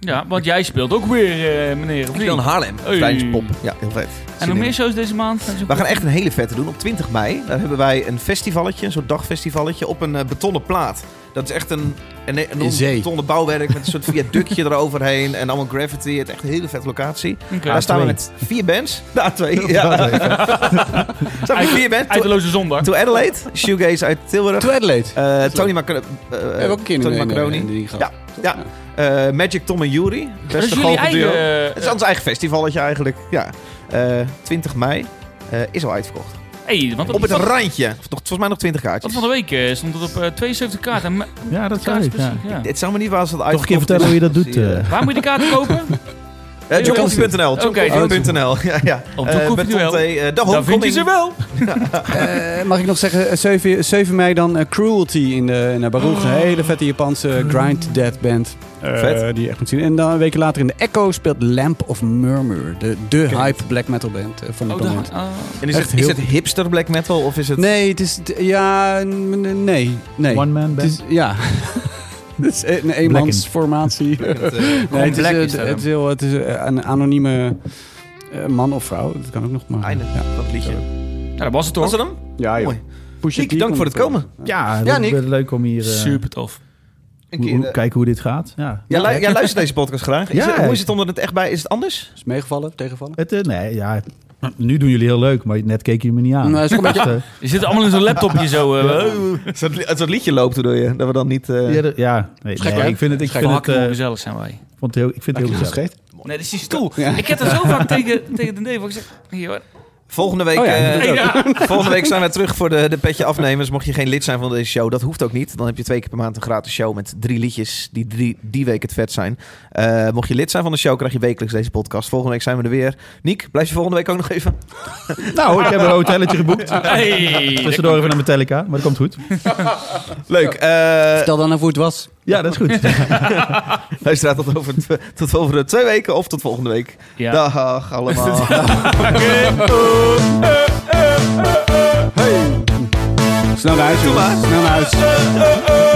B: Ja, want jij speelt ook weer, eh, meneer. of
A: Ik
B: niet?
A: wil in Haarlem.
B: Hey.
A: Vrijspop. Ja, heel vet.
B: En
A: Zin
B: nog
A: in.
B: meer shows deze maand? Zijn ze ook
A: We gaan echt een hele vette doen. Op 20 mei daar hebben wij een festivalletje, een soort dagfestivalletje, op een eh, betonnen plaat. Dat is echt een, een, e- een enorm
D: zee.
A: betonnen bouwwerk met een soort viaductje [LAUGHS] eroverheen en allemaal graffiti. Het is echt een hele vette locatie.
B: Oké.
A: Daar staan we met vier [LAUGHS] bands. Ja, twee. Ja. staan we met vier bands. To,
B: Eindeloze zondag.
A: To Adelaide, Shoegaze uit Tilburg,
D: To Adelaide. We
A: eh, Tony, Macar
D: hebben ook een keer
A: Tony
D: een- een-
A: Macaroni,
D: een ding gehad.
A: Ja, ja. eh, Magic Tom en Yuri.
B: Dat is
A: Beste
B: jullie
A: grote
B: eigen...
A: duo.
B: eh,
A: Het is ons eigen festivalletje eigenlijk. Ja. Eh, 20 mei eh, is al uitverkocht.
B: hey, want
A: Op het
B: dat-
A: randje. Nog, volgens mij nog 20
B: dat
A: kaartjes.
B: van de week eh, stond het op eh, 72 kaarten. en me-
C: Ja, dat zei
B: kaartjes
C: ik. Ja.
B: precies, ja.
A: Dit zou me niet waar als dat
C: Toch een keer vertellen hoe je dat doet. eh.
A: [LAUGHS]
B: Waar moet je de kaarten kopen?
A: Johncoffee.nl.
B: Oké,
A: Johncoffee.nl. [LAUGHS] Ja, ja.
B: Op
A: Eh,
B: John
A: met
B: Coffee
A: Tom
B: wel.
A: T, eh, De
B: Dan vind je ze
A: homecoming.
B: wel.
D: Eh, mag ik nog zeggen, eh, 7, 7 mei dan eh, Cruelty in, de, in de Baruch. Een hele vette Japanse grind death band. Eh,
A: Vet.
D: Die je echt moet zien. En dan een week later in de Echo speelt Lamp of Murmur. De, de hype black metal band eh, van dit
B: Oh,
D: moment.
B: daar- ah.
A: En is, het,
D: heel
A: is het hipster black metal of is het...
D: Nee, het is... t- Ja, n- n- nee. nee.
C: One man
D: Het
C: band.
D: is, ja. [LAUGHS] Het is een eenmansformatie.
A: Het, eh,
D: Nee, het is,
B: black
D: eh,
B: is
D: d-
B: dat
D: het
B: hem.
D: is heel- het is eh, een anonieme eh, man of vrouw. Dat kan ook nog maar.
A: einde
D: Ja,
A: van het liedje.
B: Nou, dat was het
A: Was
B: toch?
A: het hem?
D: ja joh.
A: Mooi.
D: Pusha
A: Niek,
D: T
A: dank voor
D: komt
A: het
D: er.
A: komen.
C: Ja,
A: Ja,
C: dat
A: Nick.
C: wordt leuk om hier eh,
B: Super tof.
A: Een
C: hoe-
A: keer,
C: hoe-
A: eh,
C: kijken hoe dit gaat. Ja.
A: ja, lu- jij luistert deze podcast graag. Is
C: Ja.
A: het- hoe is het onder het echt bij? Is het anders?
D: Is meegevallen, tegenvallen?
C: Het, eh, nee, ja, nu doen jullie heel leuk, maar net keken jullie me niet aan.
D: Nou, is ook een
C: Dus, eh,
B: Je zit allemaal in zo'n laptopje zo. eh, eh,
A: Als dat, li- als dat liedje loopt, bedoel je? Dat we dan niet... eh,
C: ja, de- ja, nee,
D: Gek,
C: nee,
D: hè?
C: ik vind het, ik vind het,
B: Verhakken hoe
C: eh,
B: gezellig zijn wij.
C: vond het heel, ik vind het heel
D: beetje
C: gezellig.
D: gescheet.
B: Nee, dat is die stoel. Ik heb er zo vaak tegen, tegen de neef gezegd. Hier hoor.
A: Volgende week...
D: Oh ja,
A: eh,
D: dat
B: Hey, ja.
A: Volgende week zijn we terug voor de, de petje afnemers. Mocht je geen lid zijn van deze show, dat hoeft ook niet. Dan heb je twee keer per maand een gratis show met drie liedjes die drie, die week het vet zijn. Eh, mocht je lid zijn van de show, krijg je wekelijks deze podcast. Volgende week zijn we er weer. Niek, blijf je volgende week ook nog even?
C: Nou, ik heb een hotelletje
D: [LAUGHS]
C: geboekt.
B: Hey,
C: Tussendoor even naar Metallica, maar dat komt goed.
A: Leuk. Eh
D: Vertel dan even hoe het was.
C: Ja, dat is goed.
A: [LAUGHS] luisteraar, tot over, tw- tot over de twee weken of tot volgende week.
B: Ja.
A: Dag allemaal.
D: Snel naar huis, jongens. Snel naar huis.